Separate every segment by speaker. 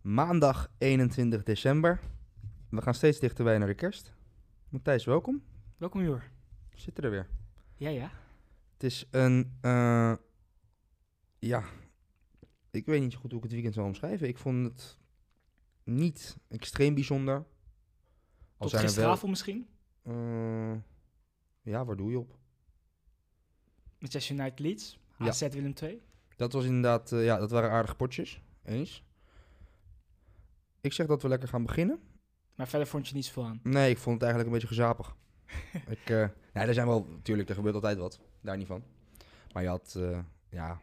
Speaker 1: Maandag 21 december. We gaan steeds dichterbij naar de kerst. Matthijs, welkom.
Speaker 2: Welkom Jor.
Speaker 1: We zitten er weer.
Speaker 2: Ja, ja.
Speaker 1: Het is een. eh, ja. Ik weet niet zo goed hoe ik het weekend zal omschrijven. Ik vond het niet extreem bijzonder. Al zijn er
Speaker 2: Tot
Speaker 1: wel-
Speaker 2: gisteravond misschien?
Speaker 1: eh, ja, waar doe je op?
Speaker 2: Manchester United Leeds.
Speaker 1: Ja.
Speaker 2: AZ Willem 2.
Speaker 1: Dat was inderdaad. eh, ja, dat waren aardige potjes. Eens. Ik zeg dat we lekker gaan beginnen.
Speaker 2: Maar verder vond je niet zoveel aan.
Speaker 1: Nee, ik vond het eigenlijk een beetje gezapig. ik, eh nee, er zijn wel. Tuurlijk, er gebeurt altijd wat. Daar niet van. Maar je had. eh, ja.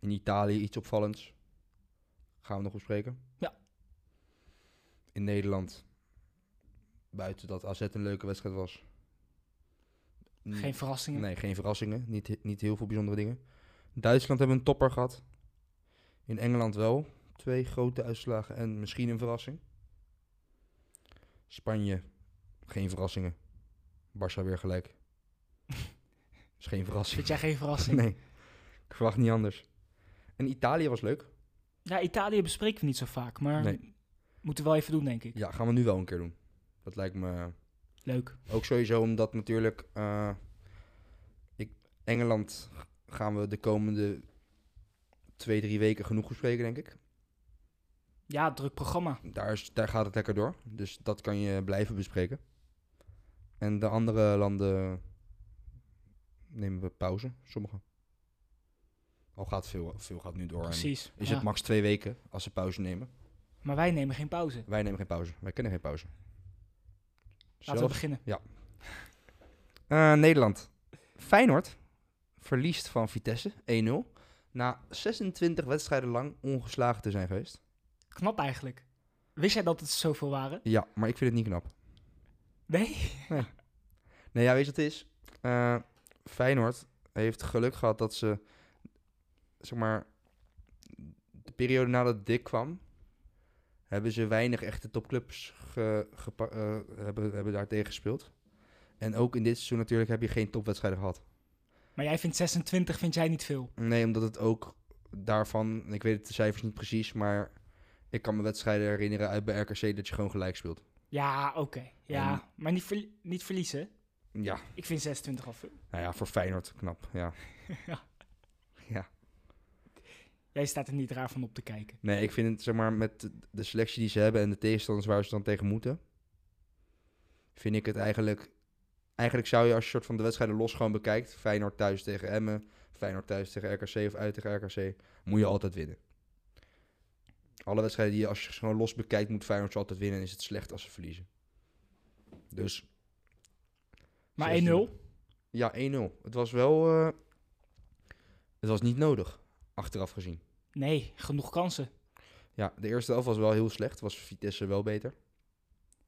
Speaker 1: In Italië iets opvallends. Gaan we nog bespreken?
Speaker 2: Ja.
Speaker 1: In Nederland. Buiten dat AZ een leuke wedstrijd was. N-
Speaker 2: Geen verrassingen.
Speaker 1: Nee, geen verrassingen. Niet, he- niet heel veel bijzondere dingen. Duitsland hebben een topper gehad. In Engeland wel. Twee grote uitslagen en misschien een verrassing. Spanje, geen verrassingen. Barça weer gelijk. Is geen verrassing.
Speaker 2: Vind jij geen verrassing?
Speaker 1: Nee, ik verwacht niet anders. En Italië was leuk.
Speaker 2: Ja, Italië bespreken we niet zo vaak, maar
Speaker 1: Nee.
Speaker 2: moeten we wel even doen, denk ik.
Speaker 1: Ja, gaan we nu wel een keer doen. Dat lijkt me
Speaker 2: Leuk.
Speaker 1: Ook sowieso omdat natuurlijk eh, ik, Engeland gaan we de komende twee, drie weken genoeg bespreken, denk ik.
Speaker 2: Ja, druk programma.
Speaker 1: Daar, is, daar gaat het lekker door. Dus dat kan je blijven bespreken. En de andere landen nemen we pauze, sommige. Al gaat veel, veel gaat nu door. en
Speaker 2: Precies.
Speaker 1: Is
Speaker 2: Ja.
Speaker 1: het max twee weken als ze pauze nemen?
Speaker 2: Maar wij nemen geen pauze. Laten
Speaker 1: Wij nemen geen pauze. Wij kennen geen pauze.
Speaker 2: we
Speaker 1: Zelfs-
Speaker 2: beginnen.
Speaker 1: Eh, Nederland. Feyenoord verliest van Vitesse 1-0. Na 26 wedstrijden lang ongeslagen te zijn geweest.
Speaker 2: Knap eigenlijk. Wist jij dat het zoveel waren?
Speaker 1: Ja, maar ik vind het niet knap.
Speaker 2: Nee?
Speaker 1: Nee, ja, weet je wat het is? Eh, Feyenoord heeft geluk gehad dat ze, zeg maar, de periode nadat Dick kwam, hebben ze weinig echte topclubs ge, gepa- eh, hebben, hebben daar tegen gespeeld. En ook in dit seizoen natuurlijk heb je geen topwedstrijden gehad.
Speaker 2: Maar jij vindt 26, vind jij niet veel?
Speaker 1: Nee, omdat het ook daarvan, ik weet het, de cijfers niet precies, maar ik kan me wedstrijden herinneren uit bij RKC dat je gewoon gelijk speelt.
Speaker 2: Ja, oké. Ja, maar niet, verli- niet verliezen.
Speaker 1: Ja,
Speaker 2: Ik vind 26 al veel.
Speaker 1: nou ja, voor Feyenoord knap, ja.
Speaker 2: Jij staat er niet raar van op te kijken.
Speaker 1: Nee, ik vind het, zeg maar, met de- de selectie die ze hebben en de tegenstanders waar ze dan tegen moeten, vind ik het eigenlijk, eigenlijk zou je als je soort van de wedstrijden los gewoon bekijkt, Feyenoord thuis tegen Emmen, Feyenoord thuis tegen RKC of uit tegen RKC, moet je altijd winnen. Alle wedstrijden die je als je ze gewoon los bekijkt, moet Feyenoord ze altijd winnen en is het slecht als ze verliezen. Dus
Speaker 2: Maar 1-0?
Speaker 1: 26. ja, 1-0. Het was wel. eh, het was niet nodig, achteraf gezien.
Speaker 2: Nee, genoeg kansen.
Speaker 1: Ja, de eerste helft was wel heel slecht. Was Vitesse wel beter.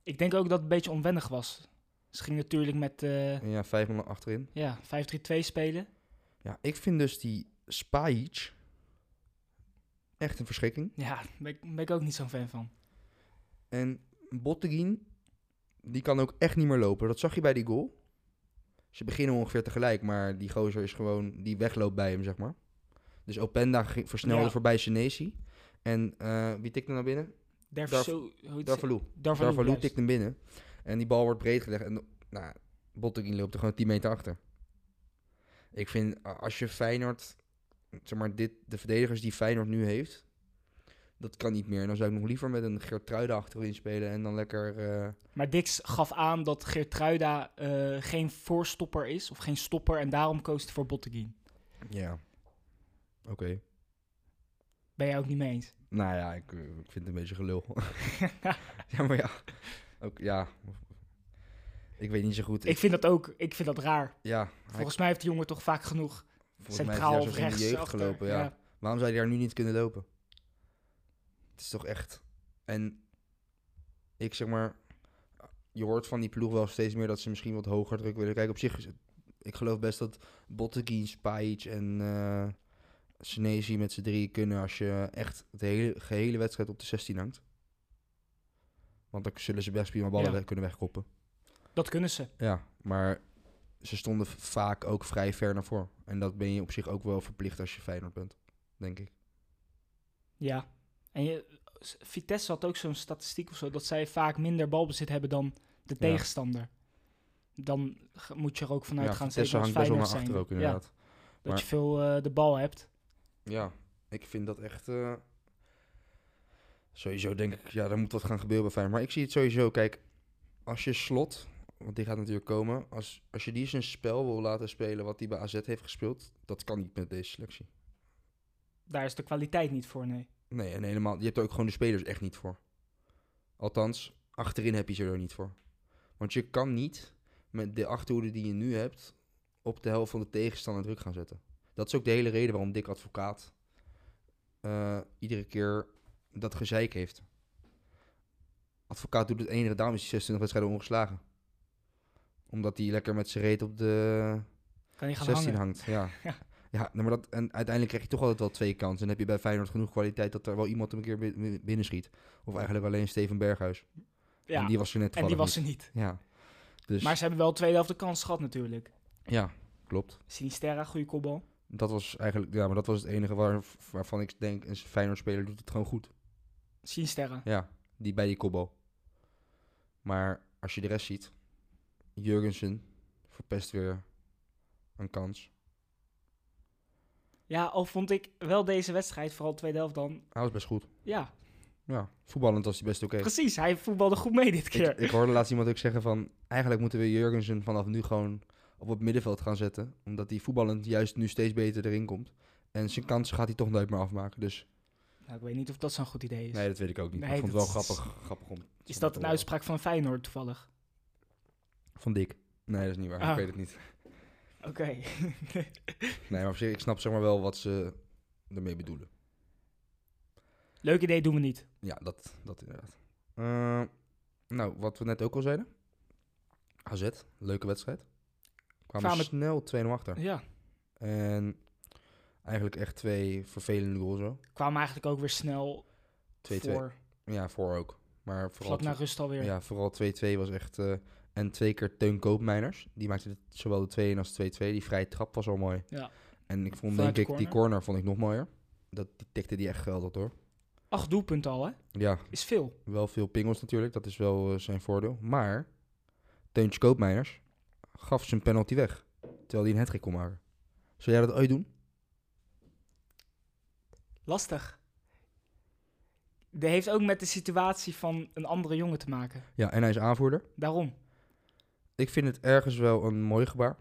Speaker 2: Ik denk ook dat het een beetje onwennig was. Ze ging natuurlijk met eh
Speaker 1: En ja, 5 man achterin.
Speaker 2: ja, 5-3-2 spelen.
Speaker 1: Ja, ik vind dus die Spajic echt een verschrikking.
Speaker 2: Ja, daar ben, ik- ben ik ook niet zo'n fan van.
Speaker 1: En Botteguin, die kan ook echt niet meer lopen. Dat zag je bij die goal. Ze beginnen ongeveer tegelijk, maar die gozer is gewoon... Die wegloopt bij hem, zeg maar. Dus Openda ging- versnelde
Speaker 2: Ja.
Speaker 1: voorbij Senesi. En eh, wie tikte naar binnen? Darv-
Speaker 2: Darv- hoe heet ze?
Speaker 1: Darvalu.
Speaker 2: Darvalu,
Speaker 1: Darvalu
Speaker 2: juist.
Speaker 1: tikt hem binnen. En die bal wordt breed gelegd. En nou, Botteguin loopt er gewoon 10 meter achter. Ik vind, a- als je Feyenoord... Zeg maar, dit, de verdedigers die Feyenoord nu heeft... Dat kan niet meer. En dan zou ik nog liever met een Geertruida achterin spelen. En dan lekker... eh,
Speaker 2: Maar Dix gaf aan dat Geertruida eh geen voorstopper is, of geen stopper, en daarom koos hij voor Botteguin.
Speaker 1: ja. Oké.
Speaker 2: Ben jij ook niet mee eens?
Speaker 1: Nou ja, ik, eh, ik vind het een beetje gelul. ja, maar ja. Ook, ja. Ik weet niet zo goed.
Speaker 2: Ik vind dat ook, ik vind dat raar.
Speaker 1: ja, hij-
Speaker 2: Volgens mij heeft die jongen toch vaak genoeg
Speaker 1: volgens mij heeft hij
Speaker 2: centraal
Speaker 1: daar
Speaker 2: of
Speaker 1: zo in de
Speaker 2: rechts
Speaker 1: jeugd
Speaker 2: achter.
Speaker 1: gelopen. Ja. Waarom zou hij daar nu niet kunnen lopen? Het is toch echt. En ik zeg maar, je hoort van die ploeg wel steeds meer dat ze misschien wat hoger druk willen. Kijk, op zich, is het- ik geloof best dat Botteguin, Spajic en eh Senesi met z'n drie kunnen als je echt de hele, gehele wedstrijd op de 16 hangt. Want dan zullen ze best prima ballen
Speaker 2: Ja.
Speaker 1: weg- kunnen wegkoppen.
Speaker 2: Dat kunnen ze.
Speaker 1: Ja, maar ze stonden v- vaak ook vrij ver naar voren. En dat ben je op zich ook wel verplicht als je Feyenoord bent, denk ik.
Speaker 2: Ja. En je, s- Vitesse had ook zo'n statistiek of zo, dat zij vaak minder balbezit hebben dan de
Speaker 1: Ja.
Speaker 2: tegenstander. Dan ge- moet je er ook vanuit
Speaker 1: ja,
Speaker 2: gaan
Speaker 1: Vitesse
Speaker 2: zeker als
Speaker 1: hangt best wel naar
Speaker 2: Feyenoord
Speaker 1: achter
Speaker 2: zijnde.
Speaker 1: ook
Speaker 2: Ja,
Speaker 1: inderdaad.
Speaker 2: dat
Speaker 1: maar-
Speaker 2: je veel eh, de bal hebt.
Speaker 1: Ja, ik vind dat echt... eh, sowieso denk ik, ja, er moet wat gaan gebeuren bij Feyenoord. Maar ik zie het sowieso, kijk, als je slot... Want die gaat natuurlijk komen. Als, als je die zijn spel wil laten spelen wat hij bij AZ heeft gespeeld... dat kan niet met deze selectie.
Speaker 2: Daar is de kwaliteit niet voor, nee.
Speaker 1: Nee, en helemaal. Je hebt er ook gewoon de spelers echt niet voor. Althans, achterin heb je ze er niet voor. Want je kan niet met de achterhoede die je nu hebt. op de helft van de tegenstander druk gaan zetten. Dat is ook de hele reden waarom Dick Advocaat. eh, iedere keer dat gezeik heeft. Advocaat doet het enige, daarom is hij 26 wedstrijden ongeslagen. Omdat hij lekker met zijn reet op de
Speaker 2: Kan je gaan
Speaker 1: 16
Speaker 2: hangen.
Speaker 1: hangt. Ja. ja. nou, maar dat, en uiteindelijk krijg je toch altijd wel twee kansen. En heb je bij Feyenoord genoeg kwaliteit dat er wel iemand hem een keer bi- bi- binnenschiet. Of eigenlijk alleen Steven Berghuis.
Speaker 2: Ja,
Speaker 1: En die was er net toevallig
Speaker 2: was er niet.
Speaker 1: niet. Ja. Dus,
Speaker 2: Maar ze hebben wel de tweede helft de kans gehad natuurlijk.
Speaker 1: ja, klopt.
Speaker 2: Sinisterra, goede kopbal.
Speaker 1: Dat was eigenlijk, ja, maar dat was het enige waar, waarvan ik denk, een Feyenoord-speler doet het gewoon goed.
Speaker 2: Sinisterra.
Speaker 1: Ja, die bij die kopbal. Maar als je de rest ziet, Jurgensen verpest weer een kans.
Speaker 2: Ja, al vond ik wel deze wedstrijd, vooral de tweede helft dan...
Speaker 1: Hij was best goed.
Speaker 2: Ja,
Speaker 1: Ja, voetballend was hij best oké.
Speaker 2: precies. Hij voetbalde goed mee dit keer.
Speaker 1: Ik, ik hoorde laatst iemand ook zeggen van... eigenlijk moeten we Jurgensen vanaf nu gewoon op het middenveld gaan zetten. Omdat hij voetballend juist nu steeds beter erin komt. En zijn kansen gaat hij toch nooit meer afmaken. Dus
Speaker 2: Nou, ik weet niet of dat zo'n goed idee is.
Speaker 1: nee, dat weet ik ook niet.
Speaker 2: Nee,
Speaker 1: ik vond het
Speaker 2: dat
Speaker 1: wel
Speaker 2: is-
Speaker 1: grappig, grappig om...
Speaker 2: is dat een uitspraak van Feyenoord toevallig?
Speaker 1: Van Dick. Nee, dat is niet waar.
Speaker 2: Ah.
Speaker 1: Ik weet het niet.
Speaker 2: Oké.
Speaker 1: Nee, maar op zich, ik snap zeg maar wel wat ze ermee bedoelen.
Speaker 2: Leuk idee doen we niet.
Speaker 1: Ja, dat, dat inderdaad. Eh, nou, wat we net ook al zeiden. AZ, leuke wedstrijd. Kwamen
Speaker 2: Kwamen-
Speaker 1: snel 2-0 achter.
Speaker 2: Ja,
Speaker 1: En eigenlijk echt twee vervelende goals zo.
Speaker 2: kwamen eigenlijk ook weer snel
Speaker 1: 2-2.
Speaker 2: voor.
Speaker 1: Ja, voor ook. Maar vooral
Speaker 2: Vlak naar rust alweer.
Speaker 1: ja, vooral 2-2 was echt... eh, en twee keer Teun Koopmeiners. Die maakte de- zowel de 2-1 als de 2-2. Die vrije trap was al mooi.
Speaker 2: Ja.
Speaker 1: En ik vond
Speaker 2: Vanuit
Speaker 1: denk ik,
Speaker 2: de
Speaker 1: die corner vond ik nog mooier. Dat, die tikte die echt geweldig door.
Speaker 2: Acht doelpunten al, hè?
Speaker 1: Ja,
Speaker 2: Is veel.
Speaker 1: wel veel pingels natuurlijk. Dat is wel eh, zijn voordeel. Maar Teuntje Koopmeiners gaf zijn penalty weg. Terwijl hij een hattrick kon maken. Zou jij dat ooit doen?
Speaker 2: Lastig. Dat heeft ook met de situatie van een andere jongen te maken.
Speaker 1: Ja, en hij is aanvoerder.
Speaker 2: Daarom.
Speaker 1: Ik vind het ergens wel een mooi gebaar.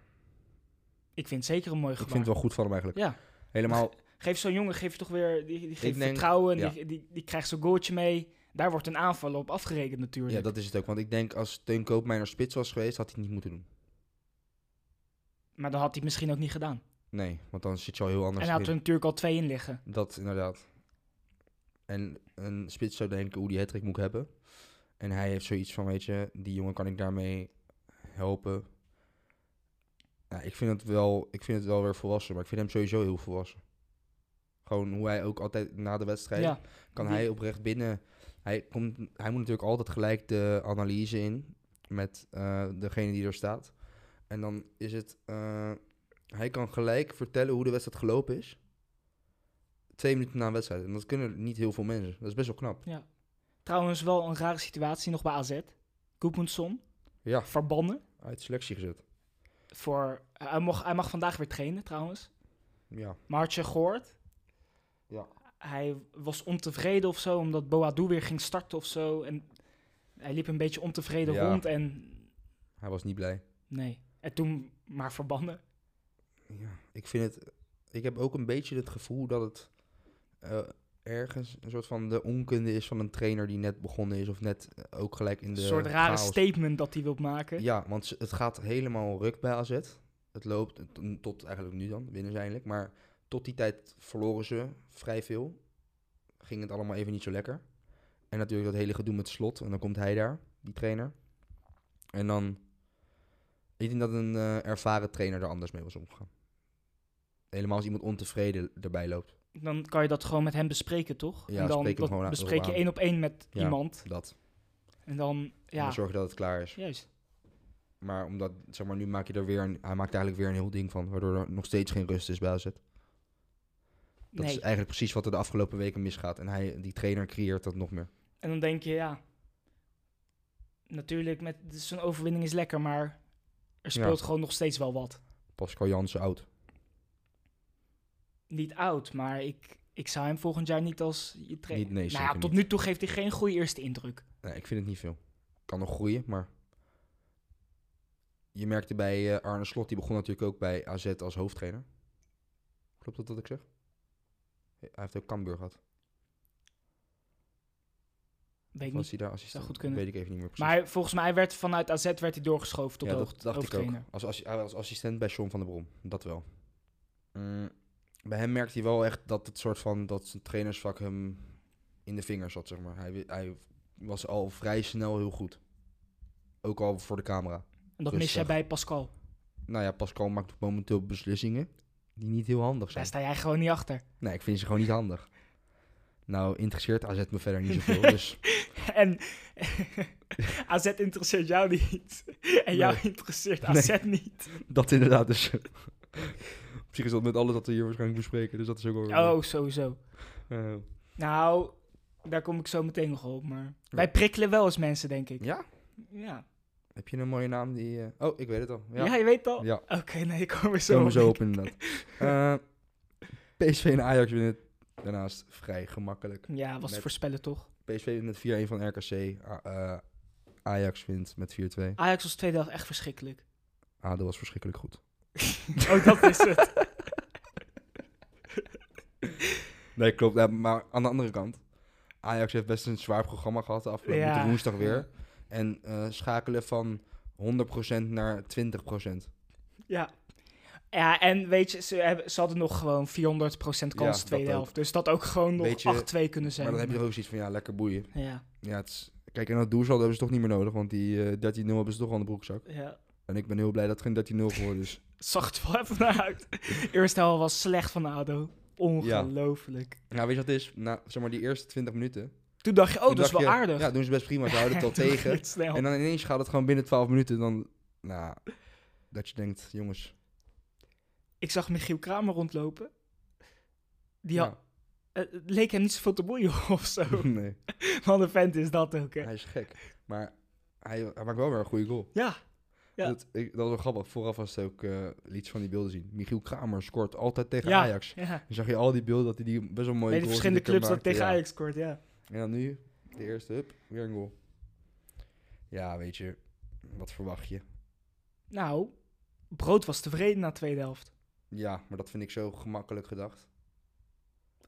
Speaker 2: Ik vind het zeker een mooi
Speaker 1: Ik
Speaker 2: gebaar.
Speaker 1: vind het wel goed van hem eigenlijk.
Speaker 2: Ja.
Speaker 1: Helemaal
Speaker 2: Geef zo'n jongen, geef je toch weer... Die, die geeft
Speaker 1: denk-
Speaker 2: vertrouwen,
Speaker 1: ja.
Speaker 2: die, die, die krijgt zo'n goaltje mee. Daar wordt een aanval op afgerekend natuurlijk.
Speaker 1: Ja, dat is het ook. Want ik denk als Teun Koopmeijer spits was geweest, had hij het niet moeten doen.
Speaker 2: Maar dan had hij het misschien ook niet gedaan.
Speaker 1: Nee, want dan zit je al heel
Speaker 2: En
Speaker 1: anders
Speaker 2: hij had er
Speaker 1: in.
Speaker 2: natuurlijk al twee in liggen.
Speaker 1: Dat inderdaad. En een spits zou denken hoe die hattrick moet hebben. En hij heeft zoiets van, weet je, die jongen kan ik daarmee helpen. Ja, ik, vind het wel, ik vind het wel weer volwassen, maar ik vind hem sowieso heel volwassen. Gewoon hoe hij ook altijd na de wedstrijd
Speaker 2: Ja,
Speaker 1: kan
Speaker 2: Die-
Speaker 1: hij oprecht binnen. Hij, komt, hij moet natuurlijk altijd gelijk de analyse in met eh, degene die er staat. En dan is het. eh, hij kan gelijk vertellen hoe de wedstrijd gelopen is. Twee minuten na een wedstrijd. En dat kunnen niet heel veel mensen. Dat is best wel knap.
Speaker 2: trouwens wel een rare situatie nog bij AZ. Goedmundsson,
Speaker 1: Ja,
Speaker 2: verbannen.
Speaker 1: uit selectie gezet.
Speaker 2: Voor, hij, mag, hij mag vandaag weer trainen trouwens.
Speaker 1: Ja,
Speaker 2: Maar had je gehoord?
Speaker 1: Ja.
Speaker 2: Hij was ontevreden of zo, omdat Boadu weer ging starten of zo. En hij liep een beetje ontevreden
Speaker 1: Ja.
Speaker 2: rond en
Speaker 1: hij was niet blij.
Speaker 2: nee. En toen maar verbannen.
Speaker 1: Ja, ik vind het. Ik heb ook een beetje het gevoel dat het eh, ergens een soort van de onkunde is van een trainer die net begonnen is. Of net eh, ook gelijk in
Speaker 2: Een
Speaker 1: de.
Speaker 2: soort rare
Speaker 1: chaos
Speaker 2: statement dat hij wil maken.
Speaker 1: Ja, want ze- het gaat helemaal ruk bij AZ. Het loopt t- tot eigenlijk nu dan, winnen ze eindelijk. Maar Tot die tijd verloren ze vrij veel. Ging het allemaal even niet zo lekker. En natuurlijk dat hele gedoe met slot. En dan komt hij daar, die trainer. En dan. Ik denk dat een eh, ervaren trainer er anders mee was omgegaan. Helemaal als iemand ontevreden erbij loopt.
Speaker 2: Dan kan je dat gewoon met hem bespreken, toch?
Speaker 1: Ja,
Speaker 2: en dan
Speaker 1: spreek hem
Speaker 2: dat
Speaker 1: gewoon aan-
Speaker 2: bespreek je
Speaker 1: aan.
Speaker 2: één op één met
Speaker 1: Ja.
Speaker 2: iemand.
Speaker 1: Dat.
Speaker 2: En dan,
Speaker 1: En
Speaker 2: ja,
Speaker 1: dan zorg je dat het klaar is.
Speaker 2: juist.
Speaker 1: Maar omdat, zeg maar, nu maak je er weer een. Hij maakt eigenlijk weer een heel ding van. Waardoor er nog steeds geen rust is bij AZ. Dat
Speaker 2: nee.
Speaker 1: is eigenlijk precies wat er de afgelopen weken misgaat. En hij, die trainer creëert dat nog meer.
Speaker 2: En dan denk je, ja, natuurlijk, met dus zo'n overwinning is lekker, maar er
Speaker 1: Ja.
Speaker 2: speelt gewoon nog steeds wel wat.
Speaker 1: Pascal Jansen oud.
Speaker 2: Niet oud, maar ik, ik zou hem volgend jaar niet als je trainer...
Speaker 1: Niet- nee,
Speaker 2: nou ja,
Speaker 1: zeker
Speaker 2: tot nu toe geeft hij geen goede eerste indruk.
Speaker 1: Nee, ik vind het niet veel. Kan nog groeien, maar... Je merkte bij eh, Arne Slot, die begon natuurlijk ook bij AZ als hoofdtrainer. Klopt dat wat ik zeg? Hij heeft ook Cambuur gehad.
Speaker 2: Weet ik
Speaker 1: Was
Speaker 2: niet.
Speaker 1: hij daar assistent?
Speaker 2: goed kunnen.
Speaker 1: Weet ik even niet meer precies.
Speaker 2: Maar volgens mij werd vanuit AZ werd hij doorgeschoven tot
Speaker 1: ja,
Speaker 2: hoog-
Speaker 1: dat dacht ik ook.
Speaker 2: hoofdtrainer.
Speaker 1: Als, assi- hij was assistent bij Sean van der Brom, dat wel. Mm, bij hem merkte hij wel echt dat het soort van dat zijn trainersvak hem in de vingers zat, zeg maar. Hij, wi- hij was al vrij snel heel goed. Ook al voor de camera.
Speaker 2: En dat mis
Speaker 1: Rustig.
Speaker 2: jij bij Pascal.
Speaker 1: Nou ja, Pascal maakt momenteel beslissingen die niet heel handig zijn.
Speaker 2: Daar sta jij gewoon niet achter.
Speaker 1: Nee, ik vind ze gewoon niet handig. Nou, interesseert AZ me verder niet zoveel. Dus
Speaker 2: En AZ interesseert jou niet. En jou
Speaker 1: Nee.
Speaker 2: interesseert
Speaker 1: Nee.
Speaker 2: AZ niet.
Speaker 1: dat inderdaad dus. Op zich is dat met alles dat we hier waarschijnlijk bespreken. Dus dat is ook wel... weer-
Speaker 2: Oh, sowieso.
Speaker 1: Eh,
Speaker 2: Nou, daar kom ik zo meteen nog op. Maar wij prikkelen wel eens mensen, denk ik.
Speaker 1: ja?
Speaker 2: Ja,
Speaker 1: Heb je een mooie naam die... eh, Oh, ik weet het al.
Speaker 2: ja.
Speaker 1: Ja,
Speaker 2: je weet al.
Speaker 1: ja.
Speaker 2: Oké, nee, ik kom er zo
Speaker 1: komen
Speaker 2: op.
Speaker 1: we zo op inderdaad. Eh, PSV en Ajax winnen het daarnaast vrij gemakkelijk.
Speaker 2: Ja, was te
Speaker 1: Met-
Speaker 2: voorspellen toch?
Speaker 1: PSV wint met 4-1 van RKC. A- eh, Ajax wint met 4-2.
Speaker 2: Ajax was tweede helft echt verschrikkelijk.
Speaker 1: ADO was verschrikkelijk goed.
Speaker 2: oh, dat is het.
Speaker 1: Nee, klopt. Ja, maar aan de andere kant, Ajax heeft best een zwaar programma gehad de afgelopen
Speaker 2: Ja.
Speaker 1: moeten woensdag weer. En eh, schakelen van 100% naar 20%.
Speaker 2: Ja. Ja, en weet je, ze, hebben, ze hadden nog gewoon 400% kans
Speaker 1: Ja,
Speaker 2: de tweede
Speaker 1: dat ook.
Speaker 2: helft. Dus dat ook gewoon nog
Speaker 1: Weet je,
Speaker 2: 8-2 kunnen zijn.
Speaker 1: Maar dan heb je er ook zoiets van, ja, lekker boeien.
Speaker 2: Ja,
Speaker 1: Ja, het is- Kijk, en dat doelsaldo hebben ze toch niet meer nodig, want die eh, 13-0 hebben ze toch al in de broekzak.
Speaker 2: ja.
Speaker 1: En ik ben heel blij dat het geen 13-0 geworden is.
Speaker 2: Zag het wel even naar uit. Eerste helft was slecht van ADO. Ongelooflijk.
Speaker 1: nou, weet je wat het is? Na, zeg maar, die eerste 20 minuten...
Speaker 2: Toen dacht je, oh,
Speaker 1: toen
Speaker 2: dat is wel
Speaker 1: dacht je,
Speaker 2: aardig.
Speaker 1: Ja, doen ze best prima, ze houden het al tegen.
Speaker 2: Goed snel.
Speaker 1: En dan ineens gaat het gewoon binnen 12 minuten, dan... Nou, dat je denkt, jongens...
Speaker 2: Ik zag Michiel Kramer rondlopen. Die had,
Speaker 1: ja.
Speaker 2: eh, het leek hem niet zoveel te boeien of zo.
Speaker 1: nee.
Speaker 2: Wat een vent is dat ook, hè.
Speaker 1: Hij is gek. Maar hij, hij maakt wel weer een goede goal.
Speaker 2: Ja, Ja.
Speaker 1: Dat, ik, dat was wel grappig. Vooraf was het ook eh, liet je van die beelden zien. Michiel Kramer scoort altijd tegen
Speaker 2: Ja.
Speaker 1: Ajax.
Speaker 2: ja.
Speaker 1: Dan zag je al die beelden dat hij die best wel mooie
Speaker 2: Bij de
Speaker 1: goals
Speaker 2: verschillende
Speaker 1: die hij
Speaker 2: clubs dat
Speaker 1: maakte,
Speaker 2: tegen
Speaker 1: ja.
Speaker 2: Ajax scoort, ja.
Speaker 1: En dan nu, de eerste, hup, weer een goal. Ja, weet je, wat verwacht je?
Speaker 2: Nou, Brood was tevreden na de tweede helft.
Speaker 1: Ja, maar dat vind ik zo gemakkelijk gedacht.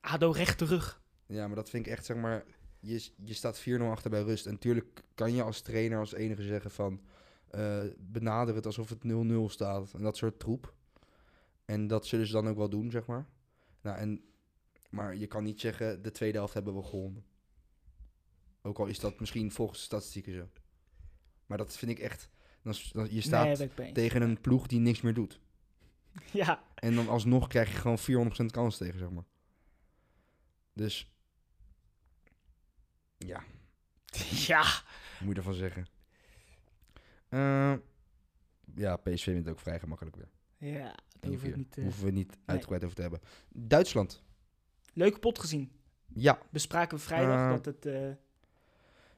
Speaker 2: ADO recht terug.
Speaker 1: Ja, maar dat vind ik echt, zeg maar, je, s- je staat 4-0 achter bij rust. En natuurlijk kan je als trainer als enige zeggen van, eh, benader het alsof het 0-0 staat. En dat soort troep. En dat zullen ze dan ook wel doen, zeg maar. Nou, en, maar je kan niet zeggen, de tweede helft hebben we gewonnen. Ook al is dat misschien volgens de statistieken zo. Maar dat vind ik echt, dan, s- dan- je staat
Speaker 2: Nee, ben ik mee.
Speaker 1: tegen een ploeg die niks meer doet.
Speaker 2: Ja,
Speaker 1: En dan alsnog krijg je gewoon 400% kans tegen, zeg maar. Dus, ja,
Speaker 2: ja.
Speaker 1: wat moet je ervan zeggen? Eh, ja, PSV wint ook vrij gemakkelijk weer.
Speaker 2: Ja, dat hoef ik
Speaker 1: 1-4.
Speaker 2: niet... eh,
Speaker 1: Hoeven we niet uitgebreid over te hebben. Duitsland.
Speaker 2: Leuke pot gezien.
Speaker 1: Ja.
Speaker 2: Bespraken we vrijdag
Speaker 1: Eh,
Speaker 2: dat het... eh,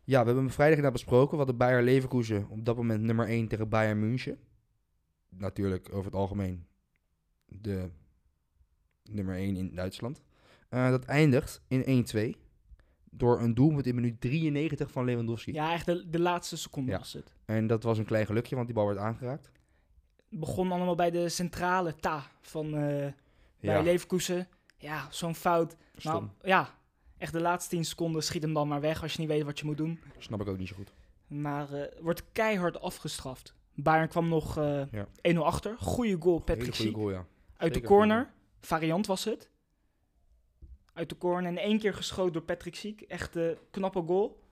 Speaker 1: ja, we hebben hem vrijdag inderdaad besproken. We hadden Bayer Leverkusen op dat moment nummer 1 tegen Bayern München. Natuurlijk over het algemeen de nummer 1 in Duitsland. Eh, dat eindigt in 1-2 door een doelpunt in minuut 93 van Lewandowski.
Speaker 2: ja, echt de, de laatste seconde
Speaker 1: Ja.
Speaker 2: was het.
Speaker 1: En dat was een klein gelukje, want die bal werd aangeraakt.
Speaker 2: Het begon allemaal bij de centrale ta van eh bij
Speaker 1: ja,
Speaker 2: Leverkusen. Ja, zo'n fout.
Speaker 1: stom.
Speaker 2: Nou, ja, echt de laatste 10 seconden schiet hem dan maar weg als je niet weet wat je moet doen.
Speaker 1: Snap ik ook niet zo goed.
Speaker 2: Maar eh, wordt keihard afgestraft. Bayern kwam nog eh,
Speaker 1: Ja.
Speaker 2: 1-0 achter. Goeie goal, Patrick
Speaker 1: Hele goede
Speaker 2: Schiek.
Speaker 1: goal, ja.
Speaker 2: Uit de
Speaker 1: Zeker
Speaker 2: corner. variant was het. Uit de corner en één keer geschoten door Patrick Siek. Echt een knappe goal.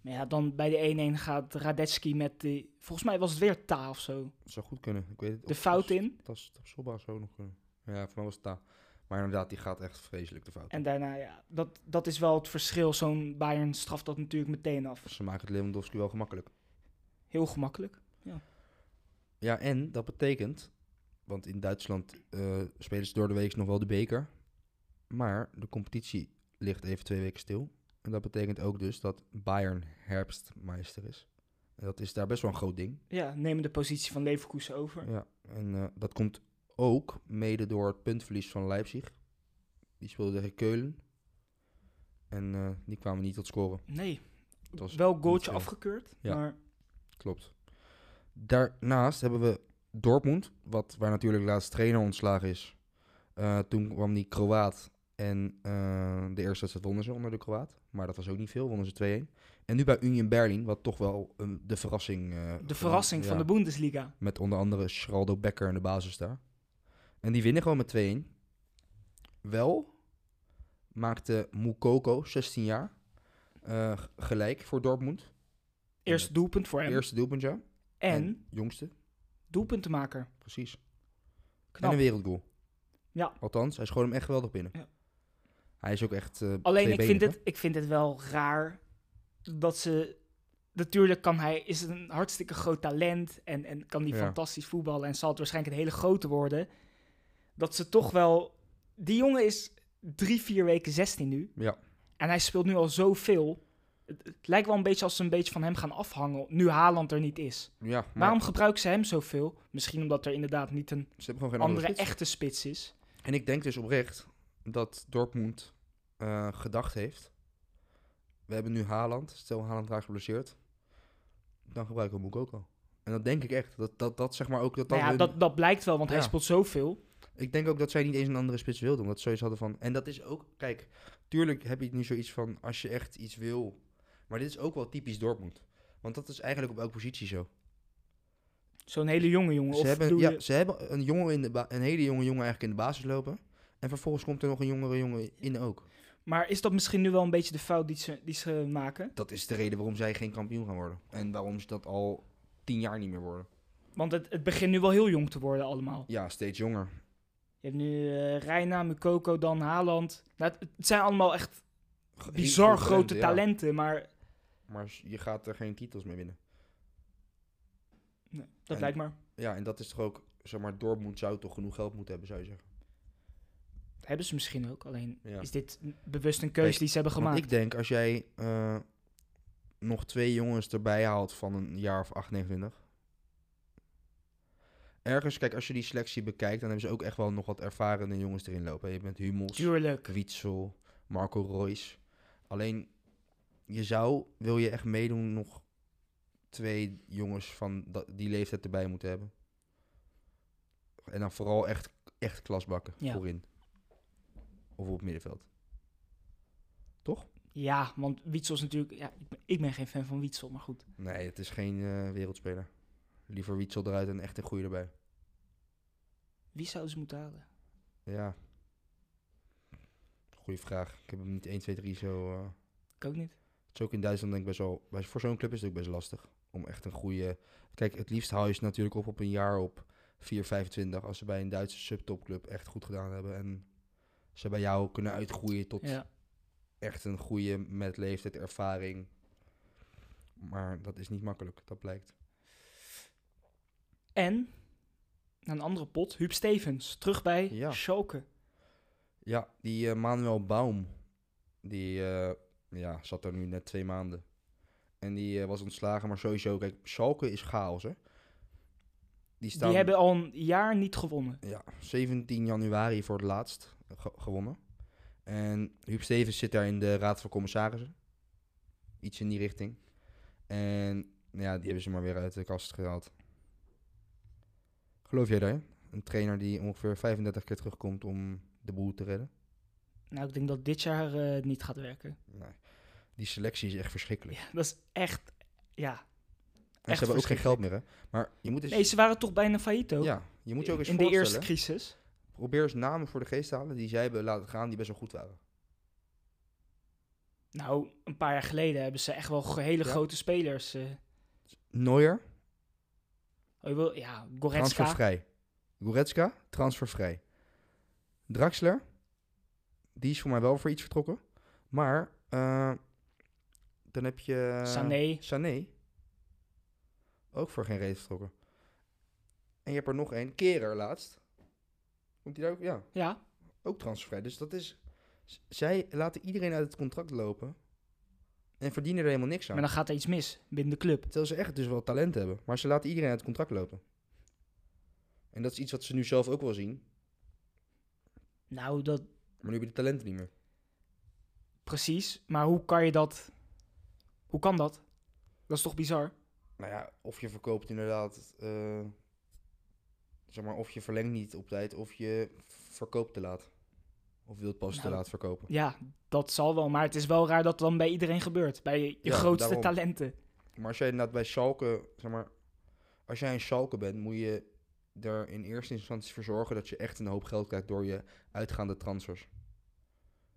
Speaker 2: Maar ja, dan bij de 1-1 gaat Radetzky met die... Volgens mij was het weer Ta of zo.
Speaker 1: Dat zou goed kunnen. Ik weet het,
Speaker 2: De fout in.
Speaker 1: Dat is Sobba zo nog kunnen. Ja, voor mij was het daar. Maar inderdaad, die gaat echt vreselijk de fout.
Speaker 2: En
Speaker 1: in.
Speaker 2: daarna, ja, dat, dat is wel het verschil. Zo'n Bayern straft dat natuurlijk meteen af.
Speaker 1: Ze maken het Lewandowski wel gemakkelijk.
Speaker 2: Heel gemakkelijk.
Speaker 1: Ja, en dat betekent, want in Duitsland eh, spelen ze door de week nog wel de beker. Maar de competitie ligt even twee weken stil. En dat betekent ook dus dat Bayern herfstmeister is. En dat is daar best wel een groot ding.
Speaker 2: Ja, nemen de positie van Leverkusen over.
Speaker 1: Ja, en eh, dat komt ook mede door het puntverlies van Leipzig. Die speelde tegen Keulen. En eh, die kwamen niet tot scoren.
Speaker 2: Nee,
Speaker 1: Het was
Speaker 2: wel goaltje
Speaker 1: veel.
Speaker 2: afgekeurd.
Speaker 1: Ja.
Speaker 2: Maar
Speaker 1: Klopt. Daarnaast hebben we Dortmund, wat, waar natuurlijk laatst trainer ontslagen is. Eh, toen kwam die Kroaat en eh, de eerste wedstrijd wonnen ze onder de Kroaat. Maar dat was ook niet veel, wonnen ze 2-1. En nu bij Union Berlin, wat toch wel een- de verrassing... eh,
Speaker 2: de verrassing van
Speaker 1: ja,
Speaker 2: de Bundesliga.
Speaker 1: Met onder andere Schraldo Becker in de basis daar. En die winnen gewoon met 2-1. Wel maakte Mukoko, 16 jaar, eh, g- gelijk voor Dortmund.
Speaker 2: Eerste doelpunt voor hem.
Speaker 1: Eerste doelpunt, ja.
Speaker 2: en
Speaker 1: Jongste.
Speaker 2: doelpuntenmaker.
Speaker 1: Precies.
Speaker 2: Knap.
Speaker 1: En een wereldgoal.
Speaker 2: Ja.
Speaker 1: Althans, hij schoot hem echt geweldig binnen.
Speaker 2: Ja.
Speaker 1: Hij is ook echt. eh,
Speaker 2: Alleen ik vind,
Speaker 1: tweebenig,
Speaker 2: het, ik vind het wel raar dat ze... Natuurlijk kan hij, is een hartstikke groot talent en, en kan die
Speaker 1: Ja.
Speaker 2: fantastisch voetballen en zal het waarschijnlijk een hele grote worden. Dat ze toch wel... Die jongen is drie, vier weken 16 nu.
Speaker 1: hè? Ja,
Speaker 2: En hij speelt nu al zoveel. Het, het lijkt wel een beetje als ze een beetje van hem gaan afhangen, nu Haaland er niet is.
Speaker 1: ja maar
Speaker 2: Waarom gebruiken ze hem zoveel? Misschien omdat er inderdaad niet een
Speaker 1: ze hebben gewoon geen andere,
Speaker 2: andere
Speaker 1: spits.
Speaker 2: echte spits is.
Speaker 1: En ik denk dus oprecht dat Dortmund eh, gedacht heeft. We hebben nu Haaland. Stel Haaland raakt geblesseerd. Dan gebruiken we Mukoko. En dat denk ik echt. Dat, dat, dat zeg maar ook. Dat, dat
Speaker 2: Nou ja,
Speaker 1: hun-
Speaker 2: dat, dat blijkt wel, want hij
Speaker 1: Ja.
Speaker 2: speelt zoveel.
Speaker 1: Ik denk ook dat zij niet eens een andere spits wilden. Omdat ze zoiets hadden van... En dat is ook... Kijk, tuurlijk heb je nu zoiets van... Als je echt iets wil... Maar dit is ook wel typisch Dortmund. Want dat is eigenlijk op elke positie zo.
Speaker 2: Zo'n hele jonge jongen.
Speaker 1: Ze
Speaker 2: of
Speaker 1: hebben,
Speaker 2: doe
Speaker 1: ja,
Speaker 2: je-
Speaker 1: ze hebben een, jongen in de ba- een hele jonge jongen eigenlijk in de basis lopen. En vervolgens komt er nog een jongere jongen in ook.
Speaker 2: Maar is dat misschien nu wel een beetje de fout die ze, die ze maken?
Speaker 1: Dat is de reden waarom zij geen kampioen gaan worden. En waarom ze dat al tien jaar niet meer worden.
Speaker 2: Want het, het begint nu wel heel jong te worden allemaal.
Speaker 1: Ja, steeds jonger.
Speaker 2: Je hebt nu eh Reina, Mukoko, dan Haaland. Nou, het, het zijn allemaal echt
Speaker 1: Ge- heel
Speaker 2: bizar
Speaker 1: veel
Speaker 2: grote
Speaker 1: ja.
Speaker 2: talenten, maar
Speaker 1: Maar je gaat er geen titels mee winnen.
Speaker 2: nee, dat
Speaker 1: En-
Speaker 2: lijkt maar.
Speaker 1: Ja, en dat is toch ook... Zeg maar, Dortmund zou toch genoeg geld moeten hebben, zou je zeggen.
Speaker 2: Dat hebben ze misschien ook, alleen
Speaker 1: Ja.
Speaker 2: is dit n- bewust een keuze
Speaker 1: Kijk,
Speaker 2: die ze hebben
Speaker 1: Want
Speaker 2: gemaakt.
Speaker 1: ik denk, als jij eh, nog twee jongens erbij haalt van een jaar of 8, 29. Ergens, kijk, als je die selectie bekijkt, dan hebben ze ook echt wel nog wat ervarende jongens erin lopen. Je bent Hummels,
Speaker 2: Tuurlijk.
Speaker 1: Kwitsel, Marco Royce. Alleen, je zou, wil je echt meedoen, nog twee jongens van dat- die leeftijd erbij moeten hebben. En dan vooral echt, echt klasbakken
Speaker 2: Ja.
Speaker 1: voorin. Of op het middenveld.
Speaker 2: Ja, want Wietsel is natuurlijk... Ja, ik, ben, ik ben geen fan van Wietsel, maar goed.
Speaker 1: Nee, het is geen eh, wereldspeler. Liever Wietsel eruit en echt een goede erbij.
Speaker 2: Wie zou ze moeten halen?
Speaker 1: Ja. Goeie vraag. Ik heb hem niet 1, 2, 3 zo... eh,
Speaker 2: Ik ook niet.
Speaker 1: Het is ook in Duitsland denk ik best wel... bij- Voor zo'n club is het ook best lastig. Om echt een goede... Kijk, het liefst haal je ze natuurlijk op op een jaar op 4, 25. Als ze bij een Duitse subtopclub echt goed gedaan hebben. En ze bij jou kunnen uitgroeien tot
Speaker 2: Ja.
Speaker 1: echt een goede met leeftijd ervaring. Maar dat is niet makkelijk, dat blijkt.
Speaker 2: En, naar een andere pot, Huub Stevens. Terug bij
Speaker 1: Ja.
Speaker 2: Schalke.
Speaker 1: Ja, die eh, Manuel Baum, die eh, ja, zat er nu net twee maanden. En die eh, was ontslagen, maar sowieso, kijk, Schalke is chaos, hè. Die staan
Speaker 2: Die hebben al een jaar niet gewonnen.
Speaker 1: ja, 17 januari voor het laatst ge- gewonnen. En Huub Stevens zit daar in de Raad van Commissarissen. Iets in die richting. En ja, die hebben ze maar weer uit de kast gehaald. Geloof jij daarin? Een trainer die ongeveer 35 keer terugkomt om de boel te redden?
Speaker 2: Nou, ik denk dat dit jaar eh, het niet gaat werken.
Speaker 1: Nee. Die selectie is echt verschrikkelijk.
Speaker 2: Ja, dat is echt... Ja.
Speaker 1: en ze
Speaker 2: echt
Speaker 1: hebben ook geen
Speaker 2: verschrikkelijk.
Speaker 1: geld meer, hè? Maar je moet eens...
Speaker 2: Nee, ze waren toch bijna failliet ook?
Speaker 1: ja, je moet je ook eens
Speaker 2: in de
Speaker 1: voorstellen.
Speaker 2: eerste crisis.
Speaker 1: Probeer eens namen voor de geest te halen die zij hebben laten gaan die best wel goed waren.
Speaker 2: Nou, een paar jaar geleden hebben ze echt wel ge- hele
Speaker 1: Ja.
Speaker 2: grote spelers. eh.
Speaker 1: Neuer,
Speaker 2: oh, je wil, ja, Goretzka.
Speaker 1: transfervrij. Goretzka, transfervrij. Draxler, die is voor mij wel voor iets vertrokken. Maar eh, dan heb je... eh,
Speaker 2: Sané.
Speaker 1: Sané. Ook voor geen reden vertrokken. En je hebt er nog één. Kerer laatst. Komt die daar ook? Ja,
Speaker 2: Ja,
Speaker 1: ook transfervrij. Dus dat is... z- Zij laten iedereen uit het contract lopen. En verdienen er helemaal niks aan.
Speaker 2: maar dan gaat er iets mis binnen de club.
Speaker 1: Terwijl ze echt dus wel talent hebben. Maar ze laten iedereen uit het contract lopen. En dat is iets wat ze nu zelf ook wel zien.
Speaker 2: Nou, dat
Speaker 1: Maar nu heb je de talenten niet meer.
Speaker 2: precies. Maar hoe kan je dat... Hoe kan dat? Dat is toch bizar?
Speaker 1: Nou ja, of je verkoopt inderdaad... eh, zeg maar, of je verlengt niet op tijd. Of je verkoopt te laat. Of wilt pas te
Speaker 2: Nou,
Speaker 1: laat verkopen.
Speaker 2: Ja, dat zal wel. Maar het is wel raar dat dat dan bij iedereen gebeurt. Bij je
Speaker 1: Ja,
Speaker 2: grootste
Speaker 1: daarom.
Speaker 2: talenten.
Speaker 1: Maar als jij inderdaad bij Schalke, zeg maar, als jij een Schalke bent, moet je er in eerste instantie voor zorgen dat je echt een hoop geld krijgt door je uitgaande transfers.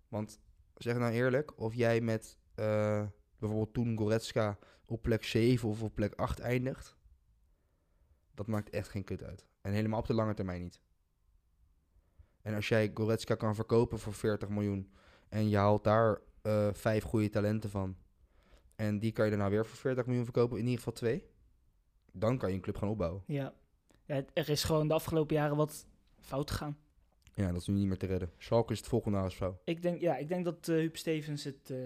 Speaker 1: Want zeg nou eerlijk, of jij met eh, bijvoorbeeld toen Goretzka op plek 7 of op plek 8 eindigt, dat maakt echt geen kut uit. En helemaal op de lange termijn niet. En als jij Goretzka kan verkopen voor 40 miljoen en je haalt daar eh, vijf goede talenten van. En die kan je daarna weer voor 40 miljoen verkopen, in ieder geval twee. Dan kan je een club gaan opbouwen.
Speaker 2: Ja. Ja, het- Er is gewoon de afgelopen jaren wat fout gegaan.
Speaker 1: Ja, dat is nu niet meer te redden. Schalke is het volgende HSV.
Speaker 2: Ik denk, ja, ik denk dat eh Huub Stevens het... eh,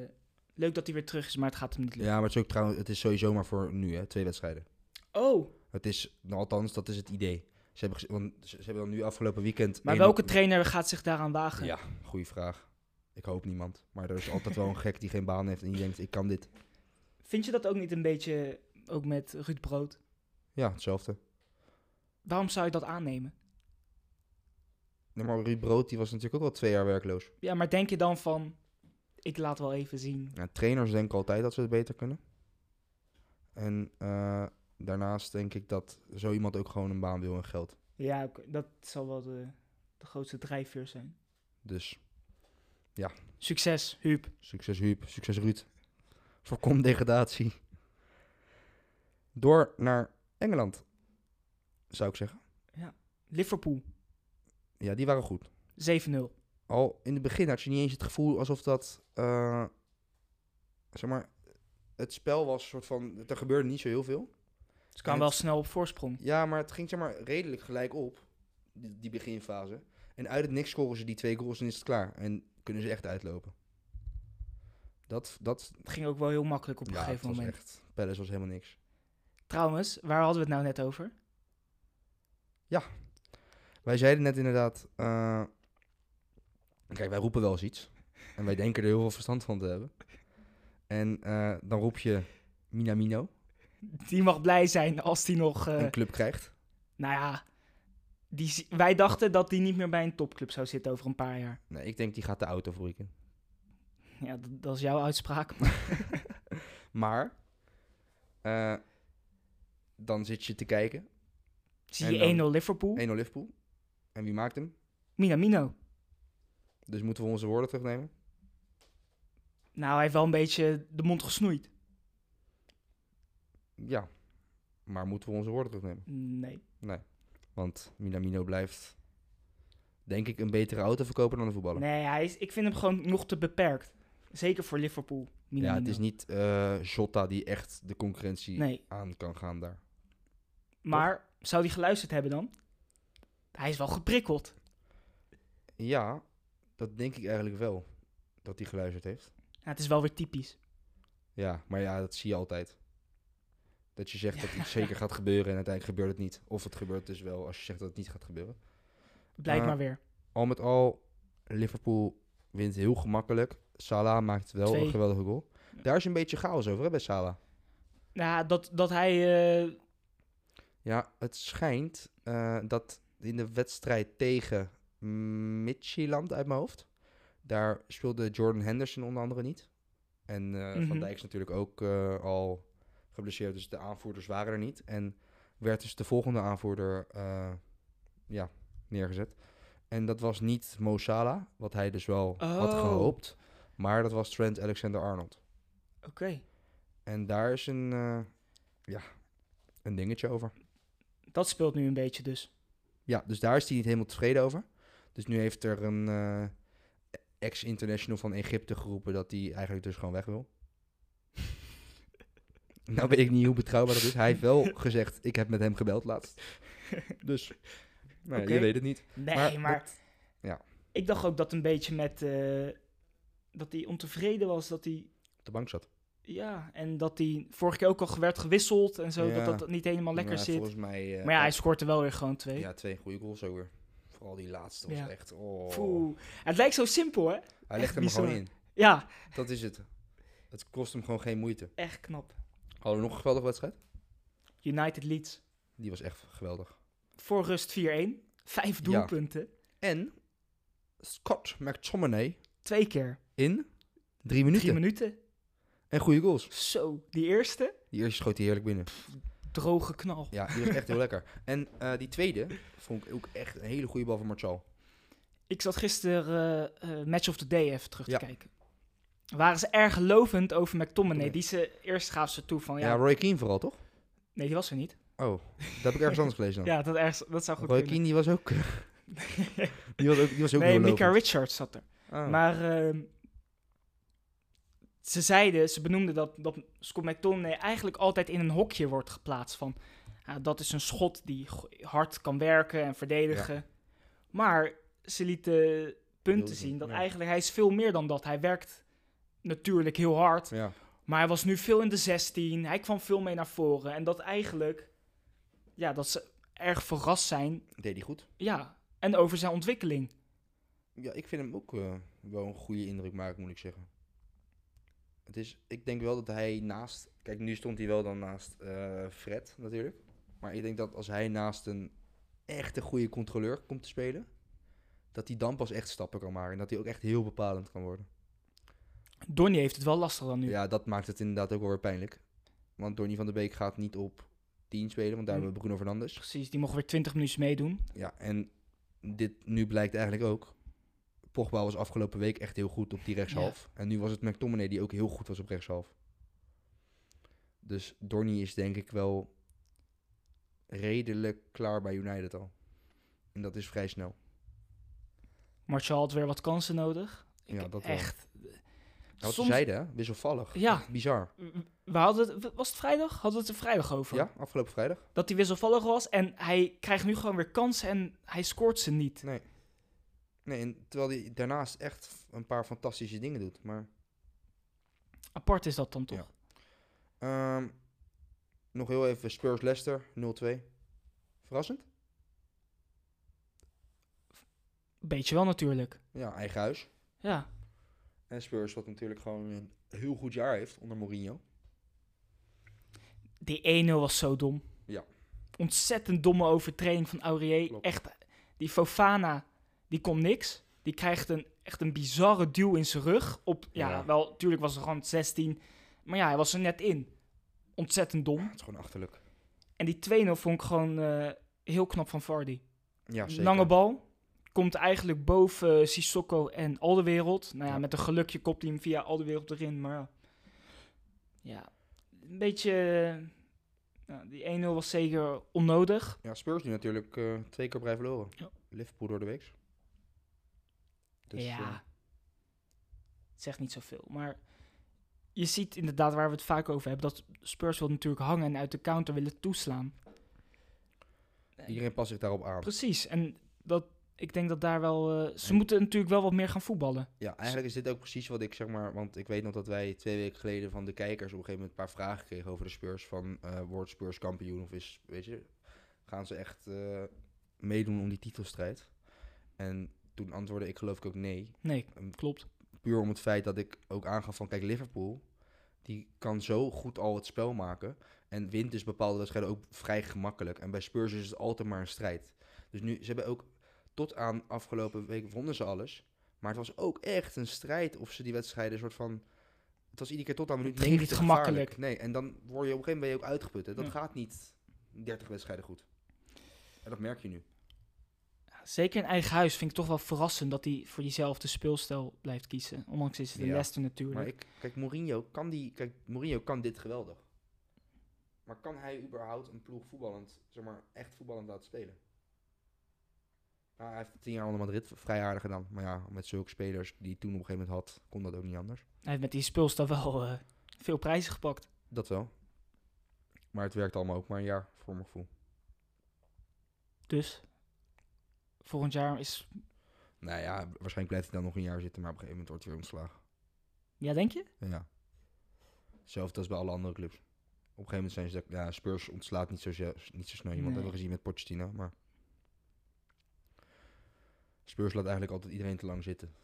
Speaker 2: leuk dat hij weer terug is, maar het gaat hem niet lukken.
Speaker 1: Ja, maar het is, ook trouwens, het is sowieso maar voor nu, hè, twee wedstrijden.
Speaker 2: Oh,
Speaker 1: Het is, nou, althans, dat is het idee. Ze hebben, gez- want ze, ze hebben dan nu afgelopen weekend...
Speaker 2: maar
Speaker 1: één-
Speaker 2: welke trainer gaat zich daaraan wagen?
Speaker 1: Ja, goede vraag. Ik hoop niemand. Maar er is altijd wel een gek die geen baan heeft en die denkt, ik kan dit.
Speaker 2: Vind je dat ook niet een beetje, ook met Ruud Brood?
Speaker 1: Ja, hetzelfde.
Speaker 2: Waarom zou je dat aannemen?
Speaker 1: Nee, maar Ruud Brood, die was natuurlijk ook al twee jaar werkloos.
Speaker 2: Ja, maar denk je dan van, ik laat wel even zien.
Speaker 1: Ja, trainers denken altijd dat ze het beter kunnen. En eh, daarnaast denk ik dat zo iemand ook gewoon een baan wil en geld.
Speaker 2: Ja, oké, dat zal wel de, de grootste drijfveer zijn.
Speaker 1: Dus
Speaker 2: Succes, Huub.
Speaker 1: succes Huub, succes Ruud. Voorkom degradatie. Door naar Engeland, zou ik zeggen.
Speaker 2: Liverpool,
Speaker 1: Ja, die waren goed.
Speaker 2: 7-0.
Speaker 1: Al in het begin had je niet eens het gevoel alsof dat, eh, zeg maar, het spel was soort van, er gebeurde niet zo heel veel.
Speaker 2: Ze kwamen
Speaker 1: het-
Speaker 2: wel snel op voorsprong.
Speaker 1: Ja, maar het ging zeg maar redelijk gelijk op, die, die beginfase. En uit het niks scoren ze die twee goals en is het klaar. En kunnen ze echt uitlopen. Dat, dat
Speaker 2: Het ging ook wel heel makkelijk op een
Speaker 1: ja, het
Speaker 2: gegeven
Speaker 1: was
Speaker 2: moment.
Speaker 1: echt, Palace was helemaal niks.
Speaker 2: Trouwens, waar hadden we het nou net over?
Speaker 1: Wij zeiden net inderdaad, eh, kijk, wij roepen wel eens iets. En wij denken er heel veel verstand van te hebben. En eh, dan roep je Minamino,
Speaker 2: Die mag blij zijn als die nog... eh,
Speaker 1: een club krijgt.
Speaker 2: nou ja, die, zi- wij dachten dat die niet meer bij een topclub zou zitten over een paar jaar.
Speaker 1: Nee, ik denk die gaat de auto voor weekend.
Speaker 2: Ja, dat, dat is jouw uitspraak.
Speaker 1: Maar, eh, dan zit je te kijken. 1-0
Speaker 2: Zie
Speaker 1: En
Speaker 2: je
Speaker 1: dan-
Speaker 2: 1-0 Liverpool?
Speaker 1: Liverpool. En wie maakt hem?
Speaker 2: Minamino.
Speaker 1: Dus moeten we onze woorden terugnemen?
Speaker 2: Nou, hij heeft wel een beetje de mond gesnoeid.
Speaker 1: Ja. Maar moeten we onze woorden terugnemen?
Speaker 2: Nee.
Speaker 1: Want Minamino blijft, denk ik, een betere autoverkoper dan een voetballer.
Speaker 2: Nee, hij is, ik vind hem gewoon nog te beperkt. Zeker voor Liverpool. Minamino.
Speaker 1: Ja, het is niet eh Jota die echt de concurrentie
Speaker 2: Nee,
Speaker 1: aan kan gaan daar.
Speaker 2: maar zou hij geluisterd hebben dan? Hij is wel geprikkeld.
Speaker 1: Ja, dat denk ik eigenlijk wel. Dat hij geluisterd heeft.
Speaker 2: Ja, het is wel weer typisch.
Speaker 1: Ja, maar ja, dat zie je altijd. Dat je zegt dat iets zeker gaat gebeuren en uiteindelijk gebeurt het niet. Of het gebeurt dus wel als je zegt dat het niet gaat gebeuren.
Speaker 2: Blijkt
Speaker 1: Eh,
Speaker 2: maar weer.
Speaker 1: al met al, Liverpool wint heel gemakkelijk. Salah maakt wel
Speaker 2: Twee.
Speaker 1: een geweldige goal. Daar is een beetje chaos over hè, bij Salah.
Speaker 2: Ja, dat, dat hij... eh,
Speaker 1: Ja, het schijnt eh, dat in de wedstrijd tegen Midtjylland uit mijn hoofd, daar speelde Jordan Henderson onder andere niet. En eh,
Speaker 2: Mhm.
Speaker 1: Van Dijk is natuurlijk ook eh, al geblesseerd, dus de aanvoerders waren er niet. En werd dus de volgende aanvoerder eh, ja, neergezet. En dat was niet Mo Salah, wat hij dus wel had
Speaker 2: Oh.
Speaker 1: gehoopt. Maar dat was Trent Alexander-Arnold.
Speaker 2: Oké.
Speaker 1: En daar is een, eh, ja, een dingetje over.
Speaker 2: Dat speelt nu een beetje dus.
Speaker 1: Ja, dus daar is hij niet helemaal tevreden over. Dus nu heeft er een eh, ex-international van Egypte geroepen dat hij eigenlijk dus gewoon weg wil. nou weet ik niet hoe betrouwbaar dat is. Hij heeft wel gezegd, ik heb met hem gebeld laatst. Dus, nou, ja,
Speaker 2: Oké.
Speaker 1: je weet het niet.
Speaker 2: Nee, maar...
Speaker 1: Maar dat- ja.
Speaker 2: Ik dacht ook dat een beetje met... eh, dat hij ontevreden was, dat hij...
Speaker 1: Op de bank zat.
Speaker 2: Ja, en dat hij vorige keer ook al werd gewisseld en zo,
Speaker 1: Ja.
Speaker 2: dat dat niet helemaal lekker
Speaker 1: Maar
Speaker 2: zit.
Speaker 1: Volgens mij... eh,
Speaker 2: Maar ja, hij scoort er wel weer gewoon twee.
Speaker 1: ja, twee goede goals ook weer. Vooral die laatste was
Speaker 2: Ja.
Speaker 1: echt... Oh.
Speaker 2: Poeh. Het lijkt zo simpel, hè?
Speaker 1: Hij
Speaker 2: echt
Speaker 1: legt hem er gewoon
Speaker 2: bizar.
Speaker 1: in.
Speaker 2: Ja,
Speaker 1: Dat is het. Het kost hem gewoon geen moeite.
Speaker 2: echt knap.
Speaker 1: Hadden we nog een geweldige wedstrijd?
Speaker 2: United Leeds.
Speaker 1: Die was echt geweldig.
Speaker 2: Voor rust 4-1. Vijf doelpunten.
Speaker 1: En Scott McTominay
Speaker 2: Twee keer.
Speaker 1: in drie minuten.
Speaker 2: Drie minuten.
Speaker 1: En goede goals.
Speaker 2: Zo. Die eerste,
Speaker 1: Die eerste schoot hij heerlijk binnen.
Speaker 2: droge knal.
Speaker 1: Ja, die was echt heel lekker. En eh, die tweede vond ik ook echt een hele goede bal van Martial.
Speaker 2: Oh Ik zat gisteren eh, eh, Match of the Day even terug
Speaker 1: Ja.
Speaker 2: te kijken. Waren ze erg lovend over McTominay.
Speaker 1: Nee.
Speaker 2: Die ze eerst gaven ze toe van
Speaker 1: Ja,
Speaker 2: ja.
Speaker 1: Roy Keane vooral, toch?
Speaker 2: nee, die was er niet.
Speaker 1: Oh, dat heb ik ergens anders gelezen dan.
Speaker 2: Ja, dat, ergens, dat zou goed
Speaker 1: Roy
Speaker 2: kunnen.
Speaker 1: Keane, die was ook... die was ook, die was ook
Speaker 2: nee,
Speaker 1: heel
Speaker 2: Mika
Speaker 1: lovend.
Speaker 2: Richards zat er.
Speaker 1: Ah.
Speaker 2: Maar ehm, ze zeiden, ze benoemden dat, dat Scott McTominay eigenlijk altijd in een hokje wordt geplaatst. Van ah, dat is een schot die go- hard kan werken en verdedigen. Maar ze lieten punten
Speaker 1: Wilde,
Speaker 2: zien dat
Speaker 1: ja.
Speaker 2: eigenlijk hij is veel meer dan dat. Hij werkt natuurlijk heel hard,
Speaker 1: Ja,
Speaker 2: maar hij was nu veel in de 16. Hij kwam veel mee naar voren. En dat eigenlijk, ja, dat ze erg verrast zijn.
Speaker 1: deed hij goed.
Speaker 2: Ja, en over zijn ontwikkeling.
Speaker 1: Ja, ik vind hem ook eh, wel een goede indruk maken, moet ik zeggen. Het is, ik denk wel dat hij naast... Kijk, nu stond hij wel dan naast eh, Fred natuurlijk. Maar ik denk dat als hij naast een echte goede controleur komt te spelen... dat hij dan pas echt stappen kan maken. En dat hij ook echt heel bepalend kan worden.
Speaker 2: Donny heeft het wel lastig dan nu.
Speaker 1: Ja, dat maakt het inderdaad ook wel weer pijnlijk. Want Donny van der Beek gaat niet op 10 spelen, want daar
Speaker 2: Hm.
Speaker 1: hebben we Bruno Fernandes.
Speaker 2: Precies, die mocht weer 20 minuten meedoen.
Speaker 1: Ja, en dit nu blijkt eigenlijk ook. Pogba was afgelopen week echt heel goed op die rechtshalf. En nu was het McTominay die ook heel goed was op rechtshalf. Dus Donny is denk ik wel redelijk klaar bij United al. En dat is vrij snel.
Speaker 2: Martial had weer wat kansen nodig.
Speaker 1: Ja,
Speaker 2: Ik-
Speaker 1: dat wel.
Speaker 2: echt.
Speaker 1: Ja, wat
Speaker 2: Soms-
Speaker 1: ze zeiden, hè? wisselvallig.
Speaker 2: Ja.
Speaker 1: Echt Bizar.
Speaker 2: We hadden het, was het vrijdag? Hadden we het er vrijdag over?
Speaker 1: Ja, afgelopen vrijdag.
Speaker 2: Dat hij wisselvallig was en hij krijgt nu gewoon weer kansen en hij scoort ze niet.
Speaker 1: Nee. Nee, en terwijl hij daarnaast echt f- een paar fantastische dingen doet. Maar
Speaker 2: Apart is dat dan toch?
Speaker 1: Ja. Ehm, nog heel even Spurs Leicester 0-2. Verrassend?
Speaker 2: Beetje wel natuurlijk.
Speaker 1: Ja, eigen huis.
Speaker 2: Ja.
Speaker 1: En Spurs wat natuurlijk gewoon een heel goed jaar heeft onder Mourinho.
Speaker 2: Die 1-0 was zo dom.
Speaker 1: Ja.
Speaker 2: Ontzettend domme overtreding van Aurier.
Speaker 1: Klopt.
Speaker 2: Echt, die Fofana, die kon niks. Die krijgt een, echt een bizarre duw in zijn rug. Op, ja,
Speaker 1: Ja.
Speaker 2: wel, tuurlijk was er gewoon 16. Maar ja, hij was er net in. Ontzettend dom.
Speaker 1: Het is gewoon achterlijk.
Speaker 2: En die 2-0 vond ik gewoon eh, heel knap van Vardy.
Speaker 1: Ja, zeker.
Speaker 2: Lange bal. Komt eigenlijk boven eh, Sissoko en Alderwereld. Nou ja,
Speaker 1: Ja.
Speaker 2: met een gelukje kopt hij hem via Alderwereld erin. Maar ja. ja, een beetje... eh, nou, die 1-0 was zeker onnodig.
Speaker 1: Ja, Spurs nu natuurlijk eh, twee keer op rij verloren.
Speaker 2: Ja.
Speaker 1: Liverpool door de week. Dus,
Speaker 2: ja.
Speaker 1: eh,
Speaker 2: Het zegt niet zoveel. Maar je ziet inderdaad waar we het vaak over hebben. Dat Spurs wil natuurlijk hangen en uit de counter willen toeslaan.
Speaker 1: eh, iedereen past zich daarop aan.
Speaker 2: Precies. En dat, ik denk dat daar wel... eh, ze moeten natuurlijk wel wat meer gaan voetballen.
Speaker 1: Ja, eigenlijk is dit ook precies wat ik zeg maar. Want ik weet nog dat wij twee weken geleden van de kijkers op een gegeven moment een paar vragen kregen over de Spurs. Van eh, wordt Spurs kampioen of is, weet je, gaan ze echt eh, meedoen om die titelstrijd? En toen antwoordde ik geloof ik ook nee.
Speaker 2: Nee,
Speaker 1: Ehm,
Speaker 2: klopt.
Speaker 1: Puur om het feit dat ik ook aangaf van kijk, Liverpool, die kan zo goed al het spel maken. En wint dus bepaalde wedstrijden ook vrij gemakkelijk. En bij Spurs is het altijd maar een strijd. Dus nu, ze hebben ook tot aan afgelopen week wonnen ze alles. Maar het was ook echt een strijd of ze die wedstrijden een soort van... Het was iedere keer tot aan minuut
Speaker 2: Het ging niet
Speaker 1: 90
Speaker 2: gemakkelijk.
Speaker 1: gevaarlijk. Nee, en dan word je op een gegeven moment ben je ook uitgeput. Hè? Dat
Speaker 2: Ja.
Speaker 1: gaat niet 30 wedstrijden goed. En dat merk je nu.
Speaker 2: zeker in eigen huis vind ik toch wel verrassend dat hij voor diezelfde speelstijl blijft kiezen. Ondanks is het een
Speaker 1: Ja,
Speaker 2: Leicester natuurlijk.
Speaker 1: Maar ik, kijk, Mourinho kan, die, kijk, Mourinho kan dit geweldig. Maar kan hij überhaupt een ploeg voetballend, zeg maar, echt voetballend laten spelen? Nou, hij heeft het tien jaar onder Madrid v- vrij aardig gedaan. Maar ja, met zulke spelers die hij toen op een gegeven moment had, kon dat ook niet anders.
Speaker 2: Hij heeft met die speelstijl wel eh, veel prijzen gepakt.
Speaker 1: Dat wel. Maar het werkt allemaal ook maar een jaar, voor mijn gevoel.
Speaker 2: Dus volgend jaar is...
Speaker 1: Nou ja, waarschijnlijk blijft hij dan nog een jaar zitten, maar op een gegeven moment wordt hij weer ontslagen.
Speaker 2: Ja, denk je?
Speaker 1: Ja. Hetzelfde als bij alle andere clubs. Op een gegeven moment zijn ze... Ja, Spurs ontslaat niet zo, ze- niet zo snel iemand.
Speaker 2: Nee.
Speaker 1: hebben we gezien met Pochettino, maar... Spurs laat eigenlijk altijd iedereen te lang zitten.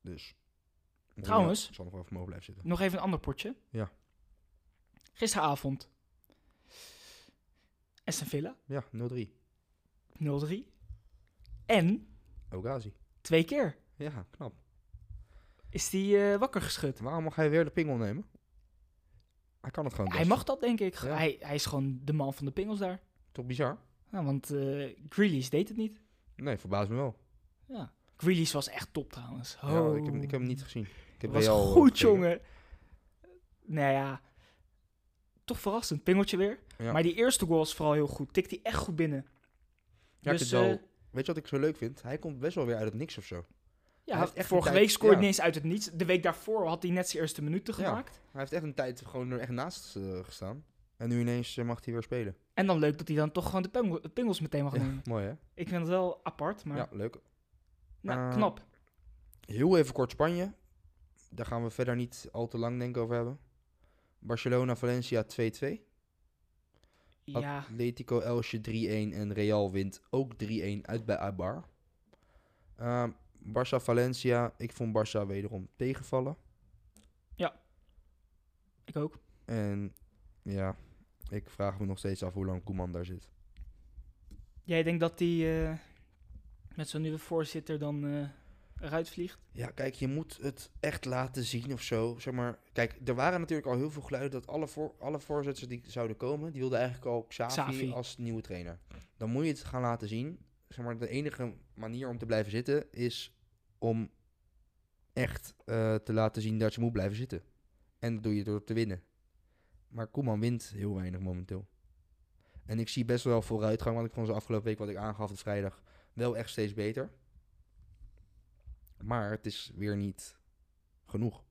Speaker 1: Dus... Mourinho
Speaker 2: Trouwens.
Speaker 1: Zal nog wel vermogen blijven zitten.
Speaker 2: Nog even een ander potje.
Speaker 1: Ja.
Speaker 2: Gisteravond. Aston Villa,
Speaker 1: Ja, 0-3.
Speaker 2: 0-3. En
Speaker 1: Ogazi.
Speaker 2: twee keer
Speaker 1: Ja, knap.
Speaker 2: is die eh, wakker geschud.
Speaker 1: Waarom mag hij weer de pingel nemen? Hij kan het gewoon
Speaker 2: Hij
Speaker 1: best.
Speaker 2: mag dat, denk ik.
Speaker 1: Ja.
Speaker 2: Hij, hij is gewoon de man van de pingels daar.
Speaker 1: Toch bizar?
Speaker 2: Ja, want eh Grealish deed het niet.
Speaker 1: Nee, verbaast me wel.
Speaker 2: Ja. Grealish was echt top trouwens.
Speaker 1: Ja,
Speaker 2: Oh.
Speaker 1: ik, heb, ik heb hem niet gezien. Ik heb
Speaker 2: was
Speaker 1: Real, eh,
Speaker 2: goed,
Speaker 1: gekeken.
Speaker 2: jongen. Nou ja, toch verrassend. Pingeltje weer.
Speaker 1: Ja.
Speaker 2: Maar die eerste goal was vooral heel goed. Tikt hij echt goed binnen.
Speaker 1: Ja, ik
Speaker 2: Dus,
Speaker 1: vind het wel-
Speaker 2: eh,
Speaker 1: weet je wat ik zo leuk vind? Hij komt best wel weer uit het niks of zo.
Speaker 2: Ja,
Speaker 1: heeft echt
Speaker 2: vorige
Speaker 1: een tijd-
Speaker 2: week scoorde
Speaker 1: ja.
Speaker 2: hij ineens uit het niets. De week daarvoor had hij net zijn eerste minuten
Speaker 1: Ja.
Speaker 2: gemaakt.
Speaker 1: Hij heeft echt een tijd gewoon er echt naast eh, gestaan. En nu ineens eh, mag hij weer spelen.
Speaker 2: En dan leuk dat hij dan toch gewoon de pingel- de pingels meteen mag
Speaker 1: Ja,
Speaker 2: nemen.
Speaker 1: mooi hè?
Speaker 2: Ik vind het wel apart, maar
Speaker 1: Ja, leuk.
Speaker 2: nou,
Speaker 1: Eh,
Speaker 2: knap.
Speaker 1: Heel even kort Spanje. Daar gaan we verder niet al te lang denk ik over hebben. Barcelona-Valencia 2-2.
Speaker 2: Ja,
Speaker 1: Atletico Elche 3-1 en Real wint ook 3-1 uit bij Abar. Ehm Barça Valencia, ik vond Barça wederom tegenvallen.
Speaker 2: ik ook.
Speaker 1: En ja, ik vraag me nog steeds af hoe lang Koeman daar zit.
Speaker 2: Jij denkt dat hij eh, met zo'n nieuwe voorzitter dan eh, eruit vliegt?
Speaker 1: Ja, kijk, je moet het echt laten zien of zo. Zeg maar, kijk, er waren natuurlijk al heel veel geluiden dat alle, voor, alle voorzitters die zouden komen, die wilden eigenlijk al Xavi,
Speaker 2: Xavi.
Speaker 1: als nieuwe trainer. Dan moet je het gaan laten zien. Zeg maar, de enige manier om te blijven zitten is om echt eh, te laten zien dat je moet blijven zitten. En dat doe je door te winnen. Maar Koeman wint heel weinig momenteel. En ik zie best wel vooruitgang, want ik vond ze afgelopen week, wat ik aangaf op vrijdag, wel echt steeds beter. Maar het is weer niet genoeg.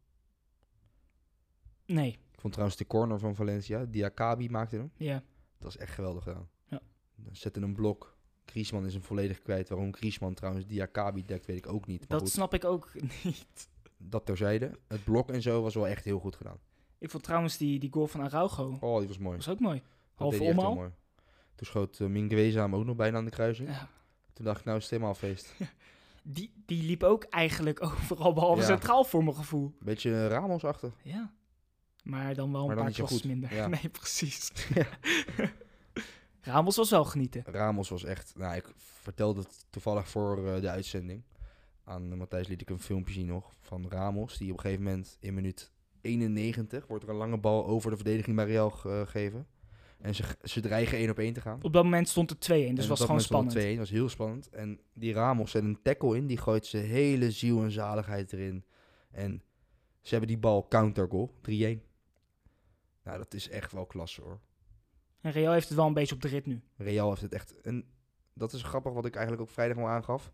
Speaker 2: Nee,
Speaker 1: Ik vond trouwens de corner van Valencia, Diakabi maakte hem.
Speaker 2: ja.
Speaker 1: Dat is echt geweldig gedaan.
Speaker 2: Ja.
Speaker 1: Dan Zette een blok. Griezmann is hem volledig kwijt. Waarom Griezmann trouwens Diakabi dekt, weet ik ook niet. Maar
Speaker 2: Dat
Speaker 1: goed,
Speaker 2: snap ik ook niet.
Speaker 1: dat terzijde. Het blok en zo was wel echt heel goed gedaan.
Speaker 2: Ik vond trouwens die, die goal van Araujo, dat
Speaker 1: Oh, die was mooi.
Speaker 2: was ook mooi.
Speaker 1: Dat
Speaker 2: Halve
Speaker 1: deed hij echt wel
Speaker 2: omhaal.
Speaker 1: mooi. Toen schoot uh, Mingueza hem ook nog bijna aan de kruising.
Speaker 2: Ja.
Speaker 1: Toen dacht ik, nou is het helemaal feest.
Speaker 2: Die, die liep ook eigenlijk overal behalve
Speaker 1: Ja.
Speaker 2: centraal voor mijn gevoel.
Speaker 1: Beetje eh, Ramos-achtig.
Speaker 2: Ja. Maar dan wel
Speaker 1: Maar dan
Speaker 2: een paar
Speaker 1: niet zo
Speaker 2: klassen
Speaker 1: goed.
Speaker 2: minder.
Speaker 1: Ja.
Speaker 2: Nee, precies. Ramos was wel genieten.
Speaker 1: Ramos was echt... Nou, ik vertelde het toevallig voor eh, de uitzending. Aan eh, Matthijs liet ik een filmpje zien nog van Ramos. Die op een gegeven moment in minuut 91 wordt er een lange bal over de verdediging bij Real ge- eh, gegeven. En ze, ze dreigen één op één te gaan.
Speaker 2: Op dat moment stond het 2-1, dus het
Speaker 1: En
Speaker 2: was
Speaker 1: op dat
Speaker 2: gewoon
Speaker 1: moment stond
Speaker 2: spannend.
Speaker 1: het 2-1, was heel spannend. En die Ramos zet een tackle in. Die gooit zijn hele ziel en zaligheid erin. En ze hebben die bal counter goal. 3-1. Nou, dat is echt wel klasse hoor.
Speaker 2: En Real heeft het wel een beetje op de rit nu.
Speaker 1: Real heeft het echt. En dat is grappig wat ik eigenlijk ook vrijdag al aangaf.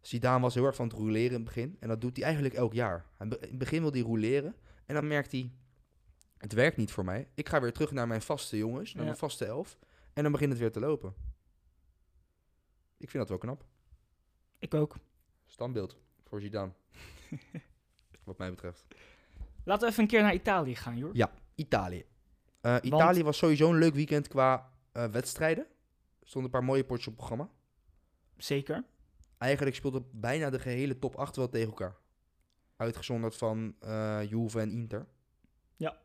Speaker 1: Zidane was heel erg van het rouleren in het begin. En dat doet hij eigenlijk elk jaar. Hij be- In het begin wil hij rouleren. En dan merkt hij, het werkt niet voor mij. Ik ga weer terug naar mijn vaste jongens, naar
Speaker 2: Ja.
Speaker 1: mijn vaste elf. En dan begint het weer te lopen. Ik vind dat wel knap.
Speaker 2: Ik ook.
Speaker 1: Standbeeld voor Zidane. wat mij betreft.
Speaker 2: Laten we even een keer naar Italië gaan, Jor.
Speaker 1: Ja. Italië. Eh, Italië was sowieso een leuk weekend qua eh, wedstrijden. Er stonden een paar mooie potjes op het programma.
Speaker 2: Zeker.
Speaker 1: Eigenlijk speelde bijna de gehele top 8 wel tegen elkaar. Uitgezonderd van eh, Juve en Inter.
Speaker 2: Ja.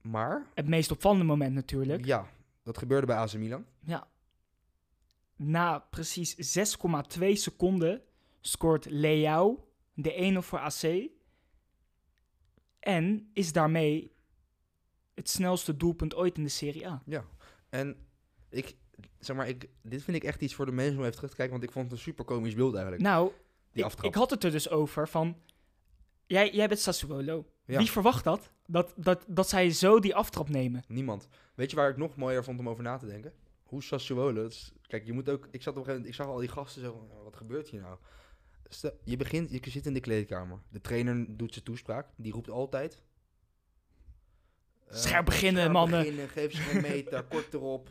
Speaker 1: Maar,
Speaker 2: Het meest opvallende moment natuurlijk.
Speaker 1: ja, dat gebeurde bij AC Milan.
Speaker 2: Ja. Na precies 6,2 seconden scoort Leao de 1-0 voor AC. En is daarmee het snelste doelpunt ooit in de Serie A.
Speaker 1: En ik zeg maar, ik, dit vind ik echt iets voor de mensen om even terug te kijken, want ik vond het een super komisch beeld eigenlijk,
Speaker 2: Nou,
Speaker 1: die
Speaker 2: ik,
Speaker 1: aftrap.
Speaker 2: ik had het er dus over van... Jij, jij bent Sassuolo.
Speaker 1: Ja.
Speaker 2: Wie verwacht dat? Dat, dat? dat zij zo die aftrap nemen.
Speaker 1: Niemand. Weet je waar ik nog mooier vond om over na te denken? Hoe Sassuolo, dat is- kijk, je moet ook, ik zat op een gegeven moment, ik zag al die gasten zo, van, wat gebeurt hier nou? Stel- je begint, je zit in de kleedkamer. De trainer doet zijn toespraak, die roept altijd. eh,
Speaker 2: Scherp beginnen, mannen."
Speaker 1: beginnen, geef ze geen meter, kort erop.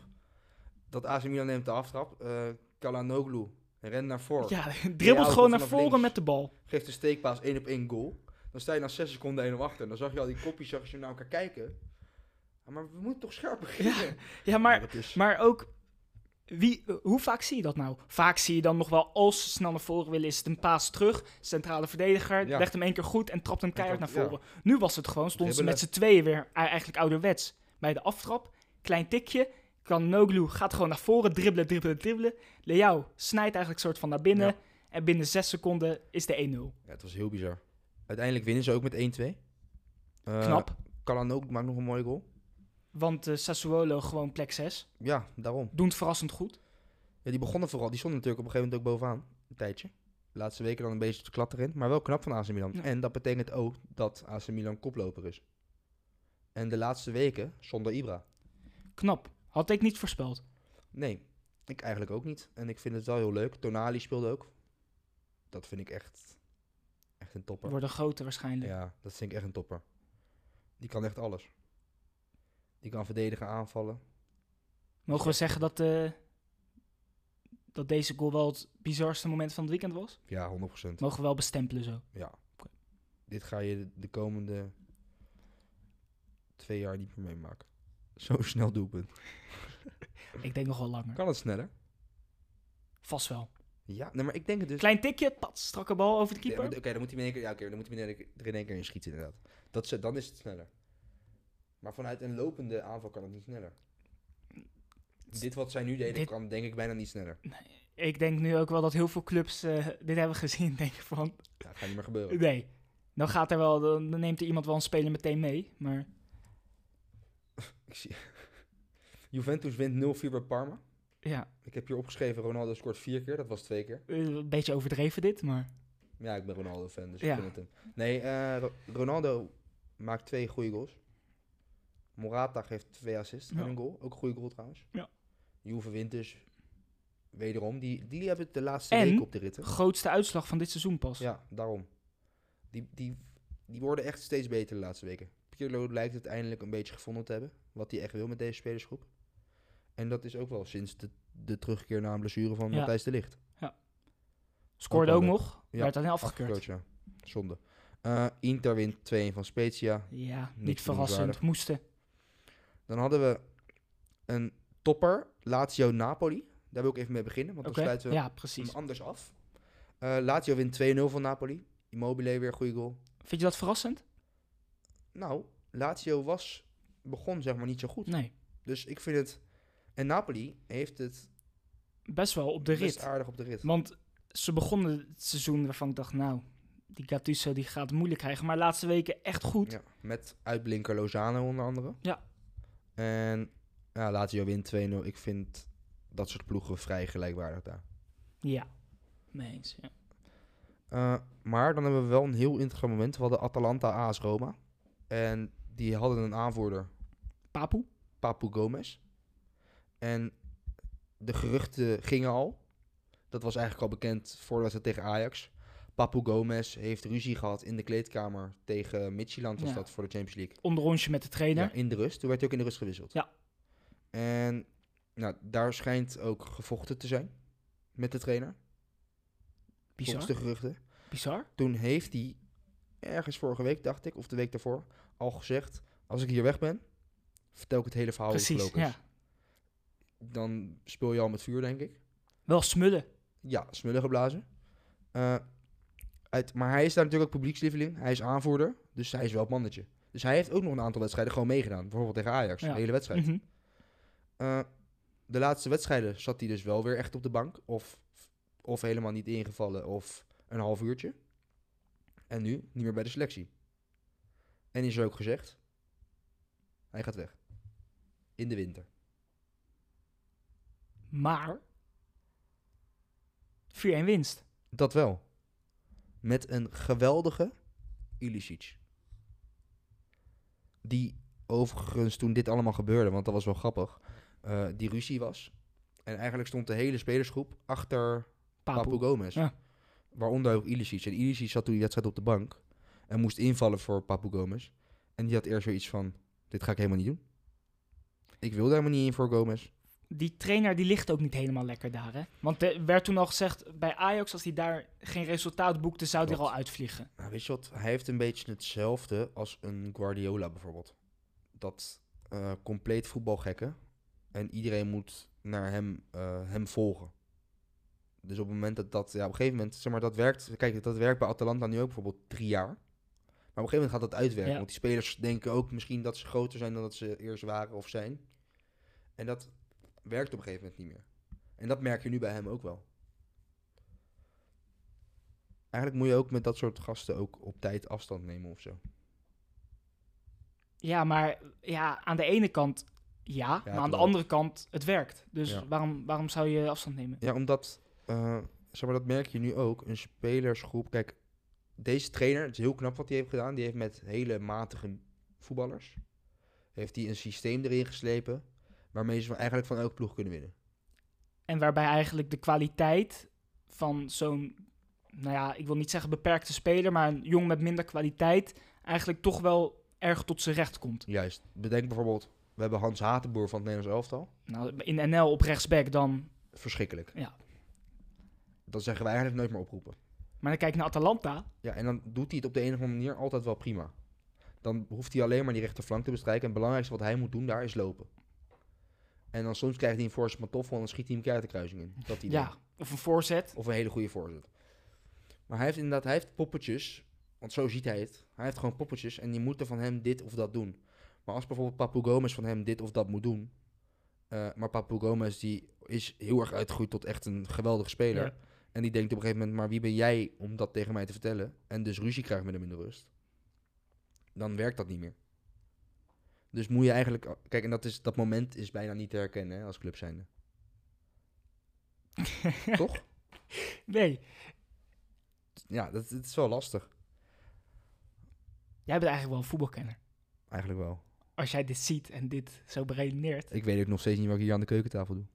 Speaker 1: Dat AC Milan neemt de aftrap. Eh Kalanoglu, ren naar voren.
Speaker 2: Ja,
Speaker 1: Ja,
Speaker 2: dribbelt gewoon naar
Speaker 1: vanaf
Speaker 2: voren
Speaker 1: links.
Speaker 2: met de bal.
Speaker 1: Geeft een steekpaas 1 op 1 goal. Dan sta je na 6 seconden 1 op achter. En dan zag je al die kopjes, zag je ze naar elkaar kijken. Ah, Maar we moeten toch scherp beginnen?
Speaker 2: Ja, maar,
Speaker 1: dat is-
Speaker 2: maar ook... Wie, hoe vaak zie je dat nou? Vaak zie je dan nog wel, als ze snel naar voren willen, is het een paas terug. Centrale verdediger
Speaker 1: Ja.
Speaker 2: legt hem één keer goed en trapt hem keihard naar
Speaker 1: trapt-
Speaker 2: voren. Nu was het gewoon, stonden ze met z'n tweeën weer eh, eigenlijk ouderwets. Bij de aftrap, klein tikje, kan Noglu gaat gewoon naar voren, dribbelen, dribbelen, dribbelen. Leao snijdt eigenlijk soort van naar binnen.
Speaker 1: Ja.
Speaker 2: En binnen zes seconden is de 1-0.
Speaker 1: Ja, het was heel bizar. Uiteindelijk winnen ze ook met 1-2. Eh,
Speaker 2: Knap,
Speaker 1: Calhanoglu ook maakt nog een mooie goal.
Speaker 2: want eh, Sassuolo gewoon plek 6.
Speaker 1: Ja, daarom.
Speaker 2: Doet verrassend goed.
Speaker 1: Ja, die begonnen vooral. Die stonden natuurlijk op een gegeven moment ook bovenaan. Een tijdje. De laatste weken dan een beetje te klatter in. Maar wel knap van AC Milan.
Speaker 2: Ja.
Speaker 1: En dat betekent ook dat AC Milan koploper is. En de laatste weken zonder Ibra.
Speaker 2: Knap, had ik niet voorspeld.
Speaker 1: Nee, ik eigenlijk ook niet. En ik vind het wel heel leuk. Tonali speelde ook. Dat vind ik echt, echt een topper.
Speaker 2: Worden groter waarschijnlijk.
Speaker 1: Ja, dat vind ik echt een topper. Die kan echt alles. Die kan verdedigen, aanvallen.
Speaker 2: Mogen we zeggen dat, eh, dat deze goal wel het bizarste moment van het weekend was?
Speaker 1: Ja, 100%.
Speaker 2: Mogen we wel bestempelen zo.
Speaker 1: Ja.
Speaker 2: Oké.
Speaker 1: Dit ga je de- de komende twee jaar niet meer meemaken. Zo snel doelpunt.
Speaker 2: Ik denk nog wel langer.
Speaker 1: Kan het sneller?
Speaker 2: Vast wel.
Speaker 1: Ja, nee, maar ik denk het dus.
Speaker 2: Klein tikje, pat, strakke bal over
Speaker 1: Ja,
Speaker 2: de
Speaker 1: maar- Oké,
Speaker 2: keeper.
Speaker 1: dan moet hij in één keer, ja, oké, dan moet hij in één keer- er in één keer in schieten inderdaad. Dat, ze- dan is het sneller. Maar vanuit een lopende aanval kan het niet sneller. Dit wat zij nu deden
Speaker 2: Dit-
Speaker 1: kan denk ik bijna niet sneller.
Speaker 2: Ik denk nu ook wel dat heel veel clubs eh, dit hebben gezien. Denk ik van,
Speaker 1: Ja, dat gaat niet meer gebeuren.
Speaker 2: nee. Dan gaat er wel, dan dan neemt er iemand wel een speler meteen mee. Maar
Speaker 1: Ik zie... Juventus wint 0-4 bij Parma.
Speaker 2: ja,
Speaker 1: Ik heb hier opgeschreven, Ronaldo scoort vier keer. Dat was twee keer.
Speaker 2: eh, een beetje overdreven dit, maar
Speaker 1: Ja, ik ben Ronaldo-fan, dus
Speaker 2: Ja.
Speaker 1: ik vind het hem. Nee, eh, Ro- Ronaldo maakt twee goede goals. Morata geeft twee assists
Speaker 2: Ja.
Speaker 1: en een goal. Ook een goede goal trouwens.
Speaker 2: Ja.
Speaker 1: Juve wint dus wederom. Die, die hebben het de laatste
Speaker 2: En?
Speaker 1: week op de ritten.
Speaker 2: grootste uitslag van dit seizoen pas.
Speaker 1: Ja, daarom. Die, die, die worden echt steeds beter de laatste weken. Pirlo lijkt het eindelijk een beetje gevonden te hebben. Wat hij echt wil met deze spelersgroep. En dat is ook wel sinds de, de terugkeer na een blessure van
Speaker 2: Ja.
Speaker 1: Matthijs de Ligt.
Speaker 2: Scoorde ook
Speaker 1: Ook wel
Speaker 2: nog,
Speaker 1: Ja,
Speaker 2: werd alleen afgekeurd.
Speaker 1: Afgekeurd, ja. Zonde. Eh, Inter wint 2-1 van Spezia.
Speaker 2: Ja, niet
Speaker 1: Niks
Speaker 2: verrassend,
Speaker 1: noemenswaardig.
Speaker 2: moesten.
Speaker 1: Dan hadden we een topper, Lazio Napoli. Daar wil ik even mee beginnen, want dan
Speaker 2: Oké,
Speaker 1: sluiten we
Speaker 2: ja,
Speaker 1: hem
Speaker 2: precies.
Speaker 1: anders af. Eh, Lazio wint 2-0 van Napoli. Immobile weer een goede goal.
Speaker 2: Vind je dat verrassend?
Speaker 1: Nou, Lazio was, begon zeg maar niet zo goed.
Speaker 2: Nee,
Speaker 1: Dus ik vind het... En Napoli heeft het
Speaker 2: best wel op de
Speaker 1: best
Speaker 2: rit.
Speaker 1: aardig op de rit.
Speaker 2: Want ze begonnen het seizoen waarvan ik dacht, nou, die Gattuso die gaat het moeilijk krijgen. Maar de laatste weken echt goed.
Speaker 1: Ja, met uitblinker Lozano onder andere.
Speaker 2: Ja.
Speaker 1: En ja, Lazio wint 2-0. Ik vind dat soort ploegen vrij gelijkwaardig daar.
Speaker 2: Ja, mee eens. Ja.
Speaker 1: Eh, maar dan hebben we wel een heel interessant moment. We hadden Atalanta AS Roma. En die hadden een aanvoerder,
Speaker 2: Papu?
Speaker 1: Papu Gomez. En de geruchten gingen al. Dat was eigenlijk al bekend voordat ze tegen Ajax. Papu Gomez heeft ruzie gehad in de kleedkamer tegen Midtjylland was
Speaker 2: Ja.
Speaker 1: dat voor de Champions League.
Speaker 2: Onderrondje met de trainer.
Speaker 1: Ja, in de rust. Toen werd hij ook in de rust gewisseld.
Speaker 2: Ja.
Speaker 1: En nou, daar schijnt ook gevochten te zijn met de trainer.
Speaker 2: Bizar.
Speaker 1: Volgens de geruchten.
Speaker 2: Bizar.
Speaker 1: toen heeft hij ergens vorige week, dacht ik, of de week daarvoor, al gezegd: Als ik hier weg ben, vertel ik het hele verhaal over
Speaker 2: Precies,
Speaker 1: Lokers.
Speaker 2: ja.
Speaker 1: Dan speel je al met vuur, denk ik.
Speaker 2: Wel smullen.
Speaker 1: Ja, smullen geblazen. Eh, uit, maar hij is daar natuurlijk ook publiekslieveling. Hij is aanvoerder, dus hij is wel het mannetje. Dus hij heeft ook nog een aantal wedstrijden gewoon meegedaan. Bijvoorbeeld tegen Ajax,
Speaker 2: Ja.
Speaker 1: de hele wedstrijd.
Speaker 2: Mhm.
Speaker 1: Eh, de laatste wedstrijden zat hij dus wel weer echt op de bank. Of, of helemaal niet ingevallen, of een half uurtje. En nu niet meer bij de selectie. En is er ook gezegd, hij gaat weg. In de winter.
Speaker 2: Maar 4-1 winst.
Speaker 1: Dat wel. Met een geweldige Ilicic. Die overigens toen dit allemaal gebeurde, want dat was wel grappig, eh, die ruzie was. En eigenlijk stond de hele spelersgroep achter
Speaker 2: Papu.
Speaker 1: Papu, Gomez.
Speaker 2: Ja.
Speaker 1: Waaronder ook Ilicic. En Ilicic zat toen die wedstrijd op de bank. En moest invallen voor Papu Gomez. En die had eerst zoiets van, dit ga ik helemaal niet doen. Ik wil daar helemaal niet in voor Gomez.
Speaker 2: Die trainer die ligt ook niet helemaal lekker daar, hè? Want er werd toen al gezegd, bij Ajax, als hij daar geen resultaat boekte, zou hij er
Speaker 1: Klopt.
Speaker 2: al uitvliegen.
Speaker 1: Nou, weet je wat? Hij heeft een beetje hetzelfde als een Guardiola bijvoorbeeld. Dat eh, compleet voetbalgekken. En iedereen moet naar hem, eh, hem volgen. Dus op het moment dat dat... Ja, op een gegeven moment... Zeg maar, dat werkt... Kijk, dat werkt bij Atalanta nu ook bijvoorbeeld drie jaar. Maar op een gegeven moment gaat dat uitwerken.
Speaker 2: Ja.
Speaker 1: Want die spelers denken ook misschien dat ze groter zijn dan dat ze eerst waren of zijn. En dat werkt op een gegeven moment niet meer. En dat merk je nu bij hem ook wel. Eigenlijk moet je ook met dat soort gasten ook op tijd afstand nemen of zo.
Speaker 2: Ja, maar ja, aan de ene kant ja, maar aan de
Speaker 1: klopt.
Speaker 2: andere kant het werkt. Dus
Speaker 1: Ja.
Speaker 2: waarom, waarom zou je afstand nemen?
Speaker 1: Ja, omdat, eh, zeg maar, dat merk je nu ook. Een spelersgroep, kijk, deze trainer, het is heel knap wat hij heeft gedaan. Die heeft met hele matige voetballers, heeft hij een systeem erin geslepen, waarmee ze van- eigenlijk van elke ploeg kunnen winnen.
Speaker 2: En waarbij eigenlijk de kwaliteit van zo'n, nou ja, ik wil niet zeggen beperkte speler, maar een jong met minder kwaliteit, eigenlijk toch wel erg tot zijn recht komt.
Speaker 1: Juist. Bedenk bijvoorbeeld, we hebben Hans Hatenboer van het Nederlands elftal.
Speaker 2: Nou, in NL op rechtsback dan.
Speaker 1: Verschrikkelijk.
Speaker 2: Ja.
Speaker 1: Dat zeggen wij eigenlijk nooit meer oproepen.
Speaker 2: Maar dan kijk naar Atalanta.
Speaker 1: Ja, en dan doet hij het op de een of andere manier altijd wel prima. Dan hoeft hij alleen maar die rechterflank te bestrijken. En het belangrijkste wat hij moet doen daar is lopen. En dan soms krijgt hij een voorzet van toffel en dan schiet hij hem keihard de kruising in. Dat idee.
Speaker 2: Ja, of een voorzet.
Speaker 1: Of een hele goede voorzet. Maar hij heeft inderdaad, hij heeft poppetjes. Want zo ziet hij het. Hij heeft gewoon poppetjes en die moeten van hem dit of dat doen. Maar als bijvoorbeeld Papu Gomez van hem dit of dat moet doen. eh, maar Papu Gomez die is heel erg uitgegroeid tot echt een geweldige speler.
Speaker 2: Ja.
Speaker 1: En die denkt op een gegeven moment, maar wie ben jij om dat tegen mij te vertellen? En dus ruzie krijgt met hem in de rust. Dan werkt dat niet meer. Dus moet je eigenlijk... Kijk, en dat, is, dat moment is bijna niet te herkennen hè, als club zijnde. Toch?
Speaker 2: Nee,
Speaker 1: Ja, dat, het is wel lastig.
Speaker 2: jij bent eigenlijk wel een voetbalkenner.
Speaker 1: Eigenlijk wel.
Speaker 2: Als jij dit ziet en dit zo beredeneert,
Speaker 1: Ik weet ook nog steeds niet wat ik hier aan de keukentafel doe.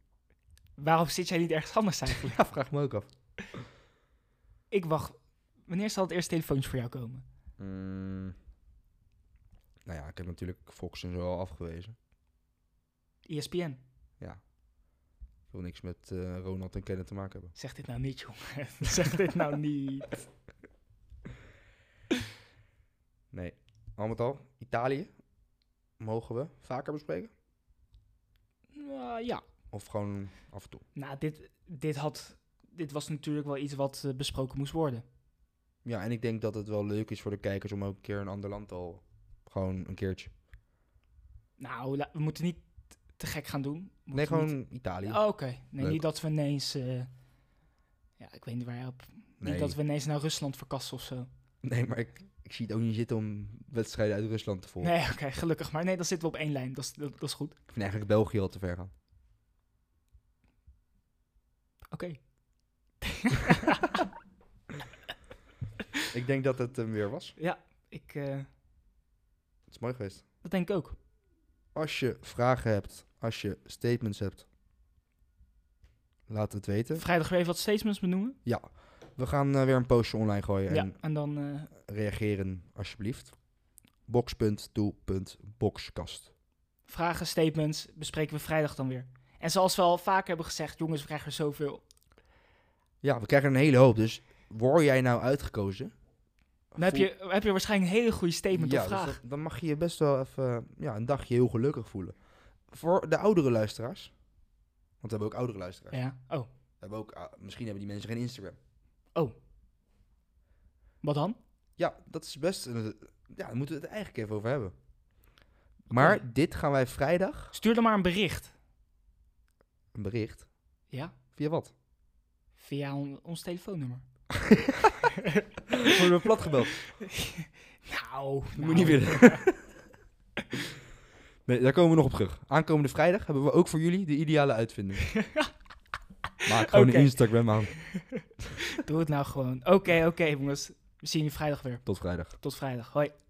Speaker 2: waarom zit jij niet ergens anders eigenlijk?
Speaker 1: Ja, vraag me ook af.
Speaker 2: Ik wacht. Wanneer zal het eerste telefoontje voor jou komen?
Speaker 1: Mm. nou ja, ik heb natuurlijk Fox en zo al afgewezen.
Speaker 2: ESPN.
Speaker 1: Ik wil niks met eh, Ronald en Kenneth te maken hebben.
Speaker 2: Zeg dit nou niet, jongen. zeg dit nou niet.
Speaker 1: Nee. Al met al, Italië mogen we vaker bespreken?
Speaker 2: Nou, ja.
Speaker 1: Of gewoon af en toe?
Speaker 2: Nou, dit, dit, had, dit was natuurlijk wel iets wat eh, besproken moest worden.
Speaker 1: Ja, en ik denk dat het wel leuk is voor de kijkers om ook een keer een ander land al... Gewoon een keertje.
Speaker 2: Nou, la- we moeten niet te gek gaan doen. We
Speaker 1: nee,
Speaker 2: moeten
Speaker 1: gewoon
Speaker 2: niet-
Speaker 1: Italië.
Speaker 2: Oh, Oké. Nee,
Speaker 1: Leuk.
Speaker 2: niet dat we ineens... eh, Ja, ik weet niet waar je op...
Speaker 1: nee.
Speaker 2: Niet dat we ineens naar Rusland verkassen of zo.
Speaker 1: nee, maar ik, ik zie het ook niet zitten om wedstrijden uit Rusland te volgen.
Speaker 2: Nee, oké, gelukkig. Maar nee, dan zitten we op één lijn. Dat is, dat, dat is goed.
Speaker 1: Ik vind eigenlijk België al te ver gaan.
Speaker 2: Oké.
Speaker 1: Ik denk dat het hem weer was.
Speaker 2: Ik, eh,
Speaker 1: Het is mooi geweest.
Speaker 2: dat denk ik ook.
Speaker 1: Als je vragen hebt, als je statements hebt, laat het weten.
Speaker 2: Vrijdag weer even wat statements benoemen.
Speaker 1: Ja, we gaan eh, weer een postje online gooien
Speaker 2: Ja,
Speaker 1: en
Speaker 2: en dan... eh,
Speaker 1: reageren alsjeblieft. Box.to.boxkast.
Speaker 2: vragen, statements bespreken we vrijdag dan weer. En zoals we al vaak hebben gezegd, jongens, we krijgen er zoveel.
Speaker 1: Ja, we krijgen een hele hoop, dus word jij nou uitgekozen?
Speaker 2: Dan heb je, heb je waarschijnlijk een hele goede statement
Speaker 1: ja,
Speaker 2: of
Speaker 1: dus dat-
Speaker 2: vraag.
Speaker 1: dan mag je je best wel even eh, ja, een dagje heel gelukkig voelen. Voor de oudere luisteraars, want we hebben ook oudere luisteraars.
Speaker 2: Ja. Oh,
Speaker 1: We hebben ook, ah, misschien hebben die mensen geen Instagram.
Speaker 2: wat dan?
Speaker 1: Ja, dat is best. een- Ja, daar moeten we het eigenlijk even over hebben. Maar dit gaan wij vrijdag
Speaker 2: Stuur dan maar een bericht.
Speaker 1: een bericht.
Speaker 2: Ja,
Speaker 1: Via wat?
Speaker 2: via on- ons telefoonnummer.
Speaker 1: Worden we plat gebeld?
Speaker 2: Nou,
Speaker 1: Dat
Speaker 2: nou.
Speaker 1: moet niet willen. nee, daar komen we nog op terug. Aankomende vrijdag hebben we ook voor jullie de ideale uitvinding. Maak gewoon
Speaker 2: Oké.
Speaker 1: een Instagram aan.
Speaker 2: Doe het nou gewoon. Oké, oké jongens. We zien je vrijdag weer.
Speaker 1: Tot vrijdag.
Speaker 2: Tot vrijdag. Hoi.